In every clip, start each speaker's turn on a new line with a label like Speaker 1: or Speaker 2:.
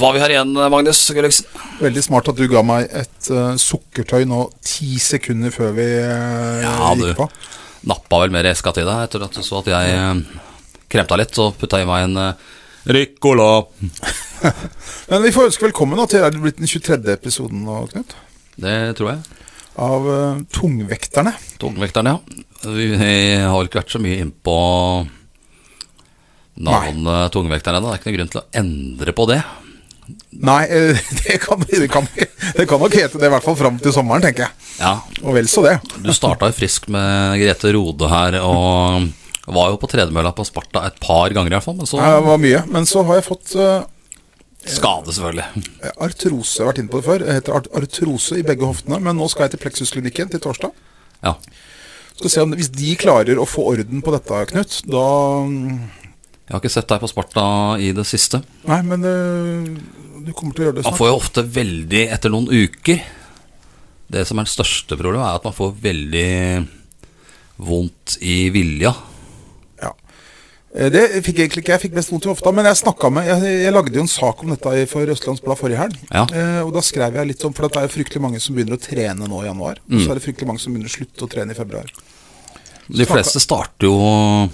Speaker 1: var vi her igjen, Magnus Gulliksen.
Speaker 2: Veldig smart at du ga meg et eh, sukkertøy nå ti sekunder før vi eh,
Speaker 1: Ja, du.
Speaker 2: gikk på.
Speaker 1: Nappa vel mer i eska til deg etter at du så at jeg eh, kremta litt, og putta i meg en eh, Ricola.
Speaker 2: Men vi får ønske velkommen da, til er det blitt den 23. episoden nå, Knut.
Speaker 1: Det tror jeg.
Speaker 2: Av eh, Tungvekterne.
Speaker 1: Tungvekteren, ja. Vi har vel ikke vært så mye innpå navnet eh, Tungvekteren ennå. Det er ikke noen grunn til å endre på det.
Speaker 2: Nei, eh, det kan, det, kan, det kan nok hete det, i hvert fall fram til sommeren, tenker jeg.
Speaker 1: Ja,
Speaker 2: Og vel så det.
Speaker 1: Du starta jo frisk med Grete Rode her, og var jo på tredemølla på Sparta et par ganger i hvert fall, men så
Speaker 2: Eh, Det var mye. Men så har jeg fått eh,
Speaker 1: skade, selvfølgelig.
Speaker 2: artrose. Jeg har vært inne på det før. Det heter art artrose i begge hoftene. Men nå skal jeg til Plexusklinikken til torsdag.
Speaker 1: Ja.
Speaker 2: Skal se om, Hvis de klarer å få orden på dette, Knut, da mm,
Speaker 1: Jeg har ikke sett deg på Sparta i det siste.
Speaker 2: Nei, men øh, du kommer til å gjøre
Speaker 1: Man
Speaker 2: det snart.
Speaker 1: får jo ofte veldig etter noen uker. Det som er det største problemet, er at man får veldig vondt i vilja.
Speaker 2: Ja. Eh, Det fikk jeg egentlig ikke. Jeg fikk mest vondt i hofta. Men jeg snakka med jeg, jeg lagde jo en sak om dette i- for Østlands Blad forrige helg.
Speaker 1: Ja.
Speaker 2: Eh, og da skrev jeg litt om For det er jo fryktelig mange som begynner å trene nå i januar. Og så er det fryktelig mange som begynner å slutte å trene i februar.
Speaker 1: De fleste starter jo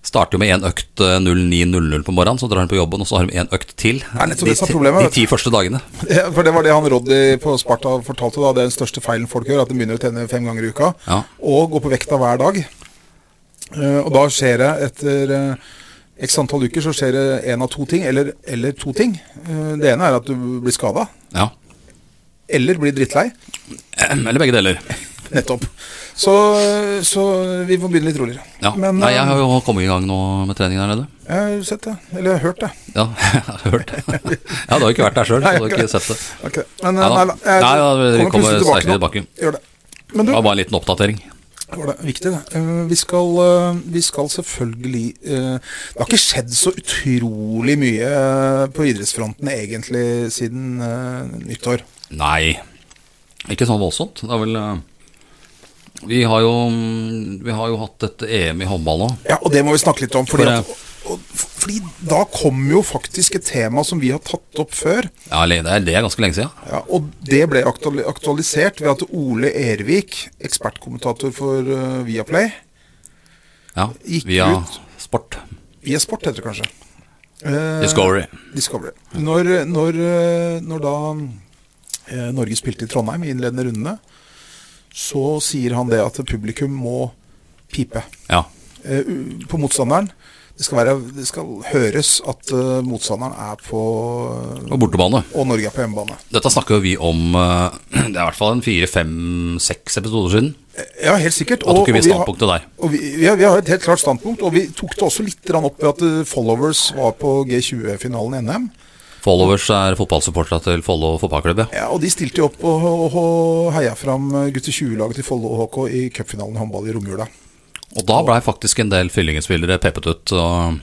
Speaker 1: Starter jo med én økt eh, 09.00 på morgenen, så drar de på jobben, og så har de én økt til
Speaker 2: er nettopp
Speaker 1: de,
Speaker 2: det som er
Speaker 1: ti-
Speaker 2: problemet,
Speaker 1: de
Speaker 2: vet
Speaker 1: ti første dagene.
Speaker 2: Ja, For det var det han Roddy på Sparta fortalte da. Det er den største feilen folk gjør, at de begynner å trene fem ganger i uka.
Speaker 1: Ja.
Speaker 2: Og gå på vekta hver dag. Eh, og da skjer det etter eh, x antall uker så skjer det én av to ting, eller, eller to ting. Eh, det ene er at du blir skada.
Speaker 1: Ja.
Speaker 2: Eller blir drittlei.
Speaker 1: Eller begge deler.
Speaker 2: Nettopp. Så, eh, så vi må begynne litt roligere.
Speaker 1: Ja.
Speaker 2: Men
Speaker 1: Nei, jeg
Speaker 2: eh,
Speaker 1: har jo kommet i gang nå med trening der nede.
Speaker 2: jeg har jo sett det. Eller jeg har hørt det.
Speaker 1: Ja, jeg har hørt det. Ja, du har jo ikke vært der sjøl, så du har ikke sett det.
Speaker 2: Ok. Men,
Speaker 1: Nei
Speaker 2: eh,
Speaker 1: da.
Speaker 2: nei, jeg
Speaker 1: Nei, ja, vi kommer
Speaker 2: plutselig
Speaker 1: sterkere
Speaker 2: nå.
Speaker 1: tilbake.
Speaker 2: Gjør det. Men du,
Speaker 1: Det var bare en liten oppdatering.
Speaker 2: det var det viktig, det. Eh, Vi skal, eh, vi skal selvfølgelig eh, Det har ikke skjedd så utrolig mye eh, på idrettsfronten egentlig siden eh, nyttår.
Speaker 1: Nei, ikke sånn voldsomt. Det er vel eh, Vi har jo, vi har jo hatt et EM i håndball nå.
Speaker 2: Ja, og det må vi snakke litt om. Fordi,
Speaker 1: For, eh,
Speaker 2: at, og, og- fordi da kommer jo faktisk et tema som vi har tatt opp før.
Speaker 1: Ja, eller det er det er ganske lenge siden.
Speaker 2: Ja, og det ble aktuali- aktualisert ved at Ole Ervik, ekspertkommentator for eh, Viaplay,
Speaker 1: Ja,
Speaker 2: Gikk
Speaker 1: via
Speaker 2: ut.
Speaker 1: sport.
Speaker 2: E-sport heter det kanskje. Eh,
Speaker 1: Discovery.
Speaker 2: Discovery. Når, når, eh, når da eh, Norge spilte i Trondheim i innledende rundene, så sier han det at publikum må pipe
Speaker 1: Ja.
Speaker 2: eh, u- på motstanderen. Det skal, være, det skal høres at eh, motstanderen er på eh,
Speaker 1: Og bortebane.
Speaker 2: Og Norge er på hjemmebane.
Speaker 1: Dette snakker jo vi om eh, Det er i hvert fall en fire, fem, seks episoder siden.
Speaker 2: Ja, helt sikkert.
Speaker 1: Da tok vi
Speaker 2: har-
Speaker 1: standpunktet der.
Speaker 2: Og vi, vi, har, vi har et helt klart standpunkt, og vi tok det også litt grann opp ved at eh, followers var på G20-finalen i NM.
Speaker 1: Followers er fotballsupportere til Follo fotballklubb. ja.
Speaker 2: Ja, og de stilte jo opp og, og, og heia fram eh, gutter 20-laget til Follo HK i cupfinalen i håndball i romjula.
Speaker 1: Og da blei faktisk en del fyllingespillere pepet ut. og...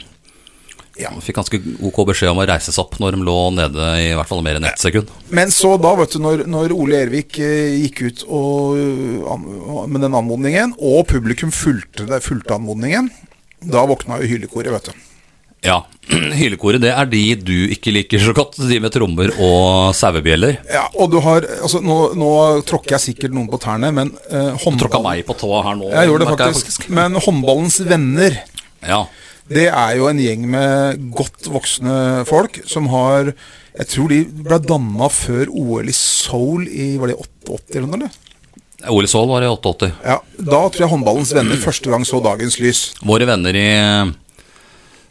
Speaker 2: Ja.
Speaker 1: De fikk ganske ok beskjed om å reise seg opp når de lå nede i hvert fall mer enn ett sekund.
Speaker 2: Men så da, vet du, når, når Ole Ervik eh, gikk ut og, eh, an, og- med den anmodningen, og publikum fulgte, det- fulgte anmodningen, da våkna jo hylekoret, vet du.
Speaker 1: Ja, Hylekoret det er de du ikke liker så godt. De med trommer og sauebjeller.
Speaker 2: Ja, og du har, altså Nå, nå tråkker jeg sikkert noen på tærne, men eh,
Speaker 1: Tråkka
Speaker 2: håndballen,
Speaker 1: meg på tåa her nå.
Speaker 2: jeg gjorde det
Speaker 1: merker jeg
Speaker 2: faktisk, men håndballens venner
Speaker 1: Ja,
Speaker 2: Det er jo en gjeng med godt voksne folk som har Jeg tror de ble danna før OL i Seoul i var det 88 eller noe? eller?
Speaker 1: Ole Saal var i 88.
Speaker 2: Ja, Da tror jeg håndballens venner første gang så dagens lys.
Speaker 1: Våre venner i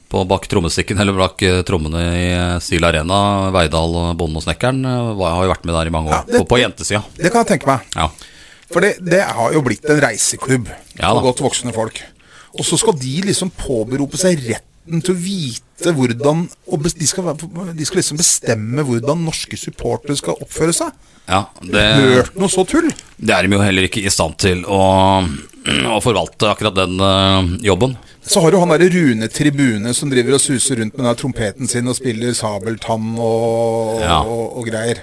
Speaker 1: på bak trommestikken, eller bak eh, trommene i Stil Arena, Veidal, Bonden og Snekkeren, eh, var- har jo vært med der i mange år.
Speaker 2: Ja, det-
Speaker 1: på, på jentesida.
Speaker 2: Det kan jeg tenke meg.
Speaker 1: Ja.
Speaker 2: For det, det har jo blitt en reiseklubb
Speaker 1: Ja da.
Speaker 2: for godt voksne folk. Og så skal de liksom påberope seg retten til å vite vite hvordan og bes- de, skal, være- de skal liksom bestemme hvordan norske supportere skal oppføre seg.
Speaker 1: Ja, det,
Speaker 2: Hørt noe så tull?
Speaker 1: det er de jo heller ikke i stand til å, å forvalte akkurat den eh, jobben.
Speaker 2: Så har du han derre Rune Tribune som driver og suser rundt med den der trompeten sin og spiller sabeltann og,
Speaker 1: Ja.
Speaker 2: og, og greier.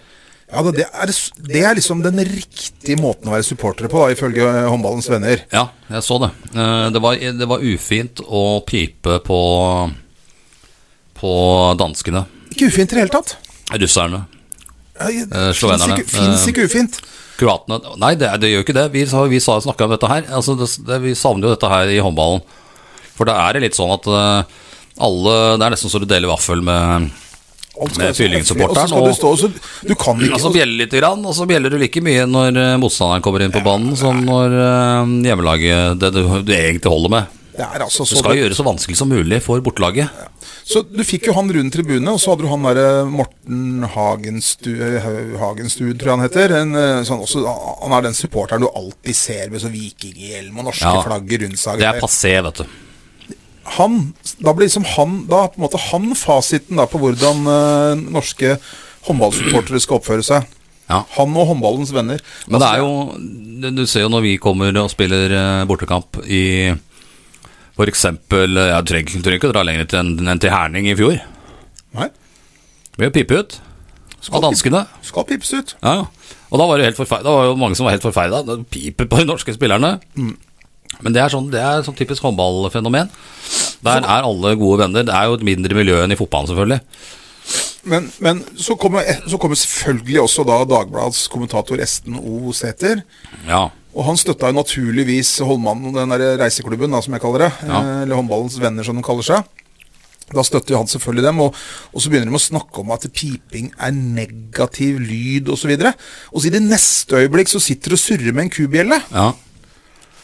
Speaker 2: Ja, da, det, er, det er liksom den riktige måten å være supportere på, da, ifølge eh, håndballens venner.
Speaker 1: Ja, jeg så det. Eh, Det var, det var ufint å pipe på, på danskene,
Speaker 2: Ikke ufint i det hele tatt.
Speaker 1: russerne,
Speaker 2: Ja,
Speaker 1: Eh,
Speaker 2: jeg- finnes
Speaker 1: slovenerne.
Speaker 2: ikke- Finnes ikke ufint.
Speaker 1: kroatene. Nei, det, det gjør jo ikke det. Vi, sa- vi snakka om dette her. Altså, det, det, vi savner jo dette her i håndballen. For da er det litt sånn at eh, alle Det er nesten så du deler vaffel med
Speaker 2: Alt
Speaker 1: Med
Speaker 2: være så
Speaker 1: tvillingsupporteren
Speaker 2: høflig, og så skal
Speaker 1: og-
Speaker 2: du stå og så, Du kan ikke
Speaker 1: Altså bjelle litt, grann, og så bjeller du like mye når eh, motstanderen kommer inn på banen, som når eh, hjemmelaget Det du, du egentlig holder med.
Speaker 2: Det er altså
Speaker 1: Du
Speaker 2: så
Speaker 1: skal gjøre det så vanskelig som mulig for bortelaget.
Speaker 2: Så du fikk jo han rundt tribune, og så hadde du han derre Morten Hagenstu, Hau- Hagenstud, tror jeg han heter. En, eh, sånn, også, han er den supporteren du alltid ser med sånn vikinghjelm og norske
Speaker 1: Ja.
Speaker 2: flagger rundt seg.
Speaker 1: Det er passé, vet du.
Speaker 2: han, da blir liksom han Da er på en måte han fasiten da, på hvordan eh, norske håndballsupportere skal oppføre seg.
Speaker 1: Ja.
Speaker 2: Han og håndballens venner.
Speaker 1: Men det er jo Du ser jo når vi kommer og spiller eh, bortekamp i for eksempel eh, Jeg trenger, trenger ikke å dra lenger til enn enn til Herning i fjor.
Speaker 2: Nei,
Speaker 1: Vi er pipet ut av danskene.
Speaker 2: skal pipes ut.
Speaker 1: Ja, ja. Og da var det, helt forfer- da var det jo mange som var helt forferda. Det Piper på de norske spillerne. Men det er sånn, det er sånn typisk håndballfenomen. Der er alle gode venner. Det er jo et mindre miljø enn i fotballen, selvfølgelig.
Speaker 2: Men, men så, kommer, så kommer selvfølgelig også da Dagbladets kommentator Esten O. Sæther.
Speaker 1: Ja.
Speaker 2: Og han støtta jo naturligvis Holmannen og den der reiseklubben, da, som jeg kaller det.
Speaker 1: Ja.
Speaker 2: eh, Eller håndballens venner, som de kaller seg. Da støtter jo han selvfølgelig dem, og, og så begynner de å snakke om at piping er negativ lyd osv. Og, så videre. og så i det neste øyeblikk så sitter du og surrer med en kubjelle.
Speaker 1: ja.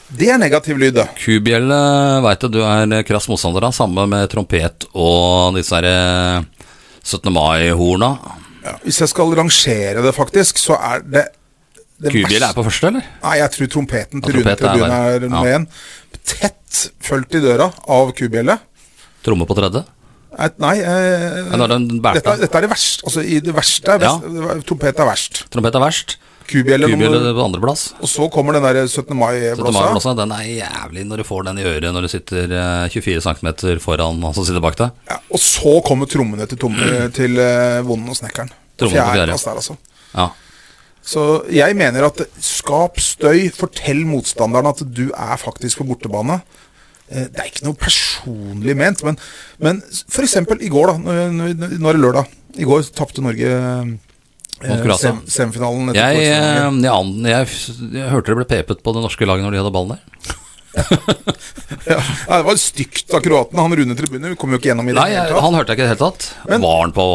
Speaker 2: Det er negativ lyd, det.
Speaker 1: Kubjelle veit du, du er krass motstander av. Samme med trompet og disse her eh, 17. mai-horna.
Speaker 2: Hvis jeg skal rangere det, faktisk, så er det, det
Speaker 1: Kubjelle
Speaker 2: verste-
Speaker 1: er på første, eller?
Speaker 2: Nei, jeg tror trompeten
Speaker 1: Ja,
Speaker 2: til Rune
Speaker 1: trompet er
Speaker 2: Tribune
Speaker 1: verre.
Speaker 2: er nummer
Speaker 1: Ja.
Speaker 2: én. Tett fulgt i døra av kubjelle.
Speaker 1: Tromme på tredje?
Speaker 2: Et- Nei, eh,
Speaker 1: Nei, da er det en bærta.
Speaker 2: dette, er- dette er det verste. Altså, i det verste er best, Trompet er verst.
Speaker 1: Trompet er verst.
Speaker 2: Kubjelle nummer
Speaker 1: Kubjelle på andreplass.
Speaker 2: Og så kommer den der 17.
Speaker 1: 17.
Speaker 2: mai-blåsa.
Speaker 1: mai-blåsa, den er jævlig når du får den i øret når du sitter eh, 24 cm foran han som sitter bak deg.
Speaker 2: Ja, og så kommer trommene til, tomme, til eh, Bonden og Snekkeren.
Speaker 1: Mm. Trommene på fjerde.
Speaker 2: Fjerdeplass der, altså.
Speaker 1: Ja.
Speaker 2: Så jeg mener at skap støy, fortell motstanderen at du er faktisk på bortebane. Eh, Det er ikke noe personlig ment, men, men f.eks. i går, da. når- når- Nå er det lørdag. I går tapte Norge eh,
Speaker 1: Mot Kroatia.
Speaker 2: sem- semifinalen. etter
Speaker 1: Jeg,
Speaker 2: kvartfinalen.
Speaker 1: eh, jeg, an- jeg, f- jeg hørte det ble pepet på det norske laget når de hadde ballen der.
Speaker 2: Ja, Nei, det var stygt av kroatene. Han Rune Tribune kom jo ikke gjennom i det
Speaker 1: Nei, jeg,
Speaker 2: hele tatt.
Speaker 1: han hørte jeg ikke i det hele tatt.
Speaker 2: Men-
Speaker 1: var han på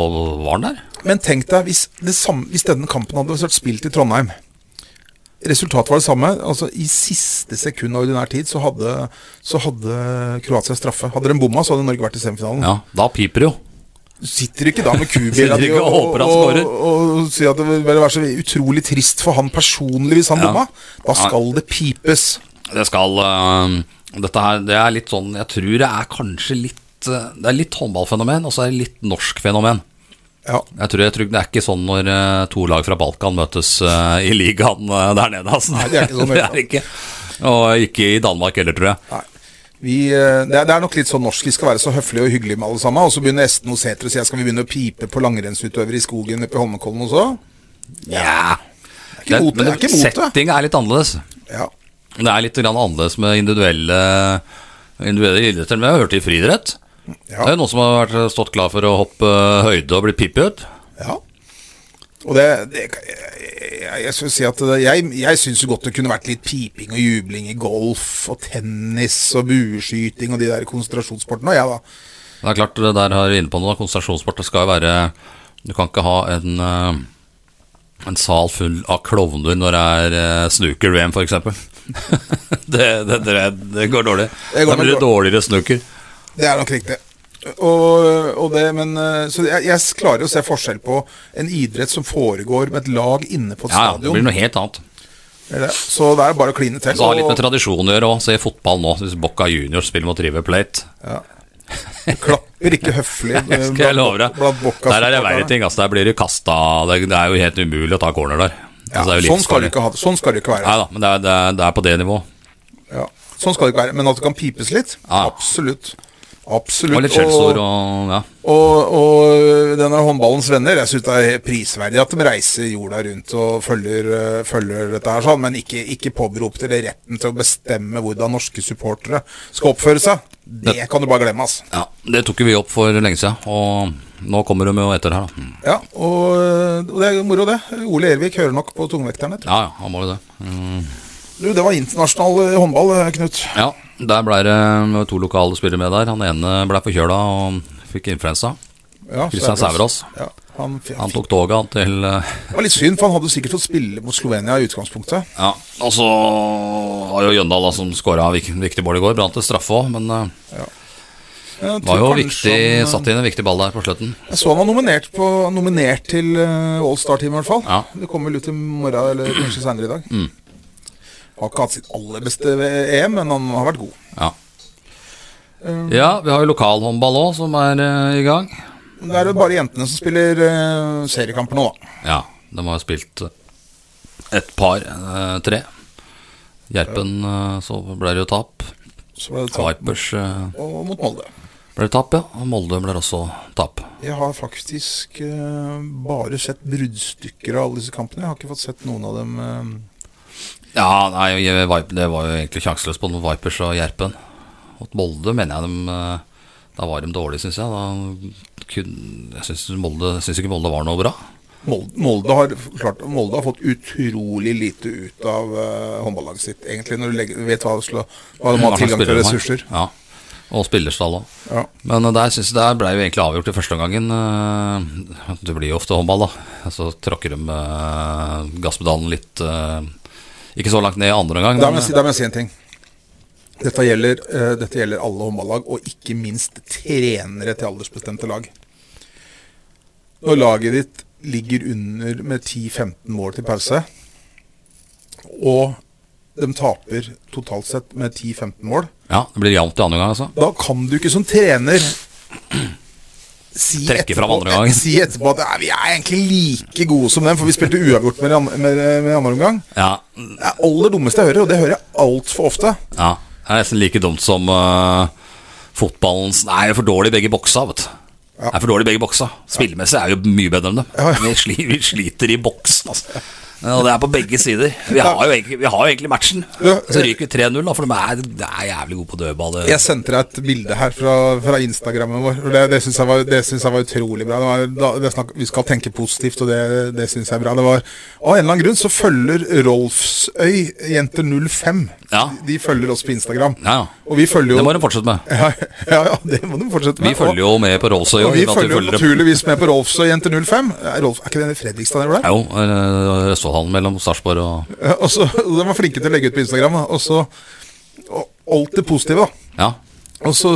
Speaker 1: Var han der?
Speaker 2: Men tenk deg hvis, det samme, hvis denne kampen hadde vært spilt i Trondheim. Resultatet var det samme. Altså I siste sekund av ordinær tid så hadde, så hadde Kroatia straffe. Hadde de bomma, så hadde Norge vært i semifinalen.
Speaker 1: Ja, da piper det jo.
Speaker 2: Du sitter ikke da med
Speaker 1: Sitter
Speaker 2: kubiler
Speaker 1: ikke og håper han
Speaker 2: og,
Speaker 1: scorer.
Speaker 2: og, og sier at det vil være så utrolig trist for han personlig hvis han
Speaker 1: Ja.
Speaker 2: bomma. Da skal det pipes.
Speaker 1: Det skal eh, Dette her det er litt sånn Jeg tror det er kanskje litt eh, Det er litt håndballfenomen, og så er det litt norsk fenomen.
Speaker 2: Ja.
Speaker 1: Jeg tror, jeg tror Det er ikke sånn når eh, to lag fra Balkan møtes eh, i ligaen eh, der nede. Altså.
Speaker 2: Nei, det er ikke sånn,
Speaker 1: det er ikke. Og ikke i Danmark heller, tror jeg.
Speaker 2: Nei. Vi, eh, det, er, det er nok litt sånn norsk. Vi skal være så høflige og hyggelige med alle sammen. Og så begynner Esten og Sæther å si at skal vi begynne å pipe på langrennsutøvere i skogen oppe i Holmenkollen også?
Speaker 1: Ja.
Speaker 2: Ikke mot det, det er ikke mot det.
Speaker 1: Settinga er litt annerledes.
Speaker 2: Ja.
Speaker 1: Det er litt grann annerledes med individuelle, individuelle idretter. Men jeg har hørt det i friidrett.
Speaker 2: Ja.
Speaker 1: Det er jo noen som har vært, stått klar for å hoppe eh, høyde og bli pipet.
Speaker 2: ja. Og det, det Jeg, jeg, skulle si at det, jeg, jeg syns jo godt det kunne vært litt piping og jubling i golf og tennis og bueskyting og de der konsentrasjonssportene. Og jeg, da.
Speaker 1: Det er klart, det der har du inne på noe. Konsentrasjonssport det skal jo være Du kan ikke ha en, eh, en sal full av klovner når det er eh, snooker-VM, f.eks. det, det, det, det går dårlig.
Speaker 2: Det går
Speaker 1: da blir det
Speaker 2: nok
Speaker 1: dårligere snooker.
Speaker 2: Det er nok riktig. Og, og det, men, eh, så jeg, jeg klarer å se forskjell på en idrett som foregår med et lag inne på et
Speaker 1: Ja, ja, det
Speaker 2: stadion.
Speaker 1: blir noe helt annet.
Speaker 2: Det er det. Så det er bare å kline til.
Speaker 1: Så har litt
Speaker 2: og-
Speaker 1: med tradisjon å gjøre òg. Se fotball nå. Hvis Boca Juniors spiller mot River Plate.
Speaker 2: Ja. Du klapper ikke høflig eh,
Speaker 1: Skal jeg love
Speaker 2: blant,
Speaker 1: deg.
Speaker 2: blant bokka.
Speaker 1: Der er det verre ting. Altså, der blir du kasta Det det er jo helt umulig å ta corner der.
Speaker 2: Ja,
Speaker 1: Altså, det er jo
Speaker 2: sånn, skal
Speaker 1: livsfarlig.
Speaker 2: det ikke ha, det. sånn skal det ikke
Speaker 1: Nei
Speaker 2: være.
Speaker 1: da, men det er, det er, det er på det nivået.
Speaker 2: Ja. Sånn skal det ikke være. Men at det kan pipes litt?
Speaker 1: Ja.
Speaker 2: Absolutt.
Speaker 1: Og
Speaker 2: Absolutt.
Speaker 1: litt skjellsord og ja.
Speaker 2: Og, og denne håndballens venner, jeg syns det er prisverdig at de reiser jorda rundt og følger, eh, følger dette her, sånn, men ikke, ikke påberoper dere retten til å bestemme hvordan norske supportere skal oppføre seg. Det kan du bare glemme, altså.
Speaker 1: ja. Det tok jo vi opp for lenge siden, og nå kommer de jo etter her, da. Mm.
Speaker 2: Ja, og, eh, og det er jo moro, det. Ole Ervik hører nok på tungvekterne. tror jeg.
Speaker 1: Ja ja, han må jo det. Mm.
Speaker 2: Du, det var internasjonal eh, håndball, eh, Knut.
Speaker 1: Ja, der ble det det var to lokale spillere med der. Han ene ble forkjøla og fikk influensa.
Speaker 2: Ja,
Speaker 1: Kristian
Speaker 2: Sæverås.
Speaker 1: Sæverås.
Speaker 2: Ja, han, f-
Speaker 1: Han tok toget han til eh,
Speaker 2: Det var litt synd, for han hadde sikkert fått spille mot Slovenia i utgangspunktet.
Speaker 1: Ja, og så har jo Jøndal da, som skåra viktig mål i går, brant til straffe òg, men det
Speaker 2: Det
Speaker 1: var jo viktig,
Speaker 2: eh,
Speaker 1: satt inn en viktig ball der på slutten.
Speaker 2: Jeg så han var nominert, på, nominert til uh, All-Star-team, i hvert fall.
Speaker 1: Ja. Mm.
Speaker 2: Det kommer vel ut i morgen, eller kanskje senere i dag. Har ikke hatt sitt aller beste ved EM, men han har vært god.
Speaker 1: Ja. ja, vi har jo lokalhåndball òg, som er eh, i gang.
Speaker 2: Det er jo bare jentene som spiller eh, seriekamper nå, da.
Speaker 1: Ja, de har spilt et par, eh, tre. Gjerpen, eh, så ble det jo tap.
Speaker 2: Så ble det tap
Speaker 1: Vipers eh,
Speaker 2: og mot Molde.
Speaker 1: ble det tap, ja. Og Molde ble også tap.
Speaker 2: Jeg har faktisk eh, bare sett bruddstykker av alle disse kampene. Jeg har ikke fått sett noen av dem. eh.
Speaker 1: Ja, nei, jeg- Vip- det var jo egentlig sjanseløst på den Vipers og Gjerpen. Mot Molde mener jeg dem eh, Da var de dårlige, syns jeg. Da kunne, jeg syns Molde, syns ikke Molde var noe bra.
Speaker 2: Molde, Molde, har, klart, Molde har fått utrolig lite ut av eh, håndballaget sitt, egentlig, når du legger, vet hva, slå, hva de
Speaker 1: Hva
Speaker 2: har
Speaker 1: slags
Speaker 2: tilgang til
Speaker 1: spillere de har.
Speaker 2: ressurser.
Speaker 1: Ja, Og spillerstall òg.
Speaker 2: Ja.
Speaker 1: Men eh, der synes jeg der ble jo egentlig avgjort i første omgangen. eh, Det blir jo ofte håndball, da. Så tråkker de eh, gasspedalen litt eh, Ikke så langt ned i andre omgang.
Speaker 2: Da
Speaker 1: men-
Speaker 2: må jeg si, da må jeg si en ting. Dette gjelder, eh, dette gjelder alle håndballag, og ikke minst trenere til aldersbestemte lag. Når laget ditt ligger under med 10-15 mål til pause, og de taper totalt sett med 10-15 mål,
Speaker 1: Ja, Det blir jevnt i andre omgang, altså.
Speaker 2: da kan du ikke som trener si
Speaker 1: Trekke fram andre
Speaker 2: etterpå,
Speaker 1: gangen.
Speaker 2: si etterpå at "Nei, vi er egentlig like gode som dem, for vi spilte uavgjort med, med, med, med andre omgang.
Speaker 1: Ja,
Speaker 2: Det er aller dummeste jeg hører, og det hører jeg altfor ofte.
Speaker 1: Ja, det er nesten like dumt som eh, fotballens Nei, det er for dårlig i begge boksa, vet du. Det er for dårlig i begge boksa. Spillemessig er vi jo mye bedre enn dem. Vi, sli, vi sliter i boksen, altså. Og det er på begge sider. Vi har jo egentlig, vi har jo egentlig matchen. Så ryker vi 3-0, da, for de er, de er jævlig gode på dødball. eh, det-
Speaker 2: Jeg sendte deg et bilde her fra, fra Instagrammen vår. og Det, det syns jeg, var- det syns jeg var utrolig bra. Det var, da, det er snakk, vi skal tenke positivt, og det, det syns jeg er bra. Det var, av en eller annen grunn så følger Rolfsøy jenter 05.
Speaker 1: Ja.
Speaker 2: De følger oss på Instagram.
Speaker 1: Ja, ja.
Speaker 2: Og vi følger jo
Speaker 1: Det må de fortsette med.
Speaker 2: Ja, ja, ja, det må de fortsette med.
Speaker 1: Vi følger jo med på Rolls-Royce.
Speaker 2: og, og vi
Speaker 1: uten at
Speaker 2: følger jo
Speaker 1: dem.
Speaker 2: naturligvis med på Rolfsøy jenter 05. Er, Rolf, er ikke den i Fredrikstad? eller hvor det er?
Speaker 1: Ja, Jo, eh, Østfoldhallen mellom Sarpsborg og
Speaker 2: Ja, Og så, de var flinke til å legge ut på Instagram. da, Og så og alt det positive, da.
Speaker 1: Ja.
Speaker 2: Og så,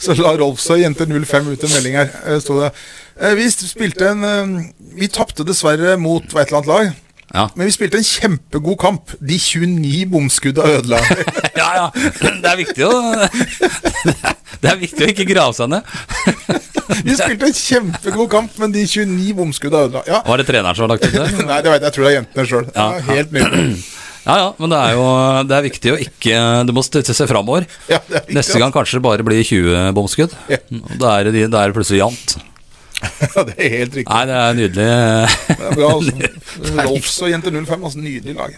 Speaker 2: så la Rolfsøy jente 05 ut en melding her. Eh, Sto det. Eh, Vi spilte en eh, Vi tapte dessverre mot hva et eller annet lag.
Speaker 1: Ja.
Speaker 2: Men vi spilte en kjempegod kamp. De 29 bomskudda ødela.
Speaker 1: ja, ja. Det er viktig å Det er viktig å ikke grave seg ned.
Speaker 2: Vi spilte en kjempegod kamp, men de 29 bomskudda ødela. Ja.
Speaker 1: Var det treneren som har lagt ut det?
Speaker 2: Nei, det vet jeg. Jeg tror det er jentene sjøl. Ja,
Speaker 1: Ja.
Speaker 2: helt nydelig.
Speaker 1: Ja, ja, men det er jo det er viktig å ikke Du må støtte seg framover.
Speaker 2: Ja, det er viktig,
Speaker 1: Neste gang kanskje det bare blir 20 bomskudd.
Speaker 2: Ja.
Speaker 1: Og Da er det, de- da er det plutselig jevnt.
Speaker 2: Ja, det er helt riktig.
Speaker 1: Nei, det er nydelig.
Speaker 2: Det er bra, altså. Rolfs og Jenter 05, altså nydelig lag.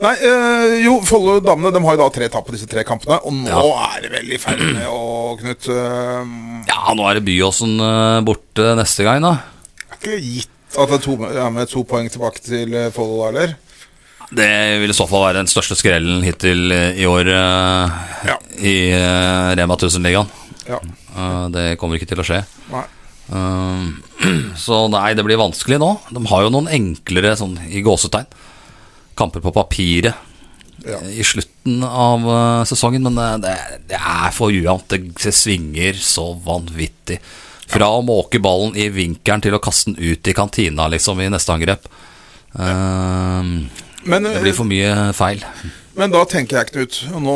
Speaker 2: Nei, eh, jo, Follo damene de har jo da tre tap på disse tre kampene, og nå
Speaker 1: Ja.
Speaker 2: er det vel i ferd med å, Knut eh,
Speaker 1: Ja, nå er det Byåsen eh, borte neste gang, da.
Speaker 2: Det er ikke gitt at det er to, ja, med to poeng tilbake til eh, Follo, da, eller?
Speaker 1: Det vil i så fall være den største skrellen hittil eh, i år eh,
Speaker 2: Ja.
Speaker 1: i eh, Rema 1000-ligaen.
Speaker 2: Ja.
Speaker 1: Eh, Det kommer ikke til å skje.
Speaker 2: Nei.
Speaker 1: Um, Så nei, det blir vanskelig nå. De har jo noen enklere, sånn i gåsetegn, kamper på papiret eh,
Speaker 2: Ja.
Speaker 1: i slutten av eh, sesongen, men eh, det, det er for ujevnt. Det, det svinger så vanvittig. Fra å måke ballen i vinkelen til å kaste den ut i kantina, liksom, i neste angrep. Um,
Speaker 2: Men
Speaker 1: det
Speaker 2: eh,
Speaker 1: blir for mye feil.
Speaker 2: Men da tenker jeg, Knut, nå,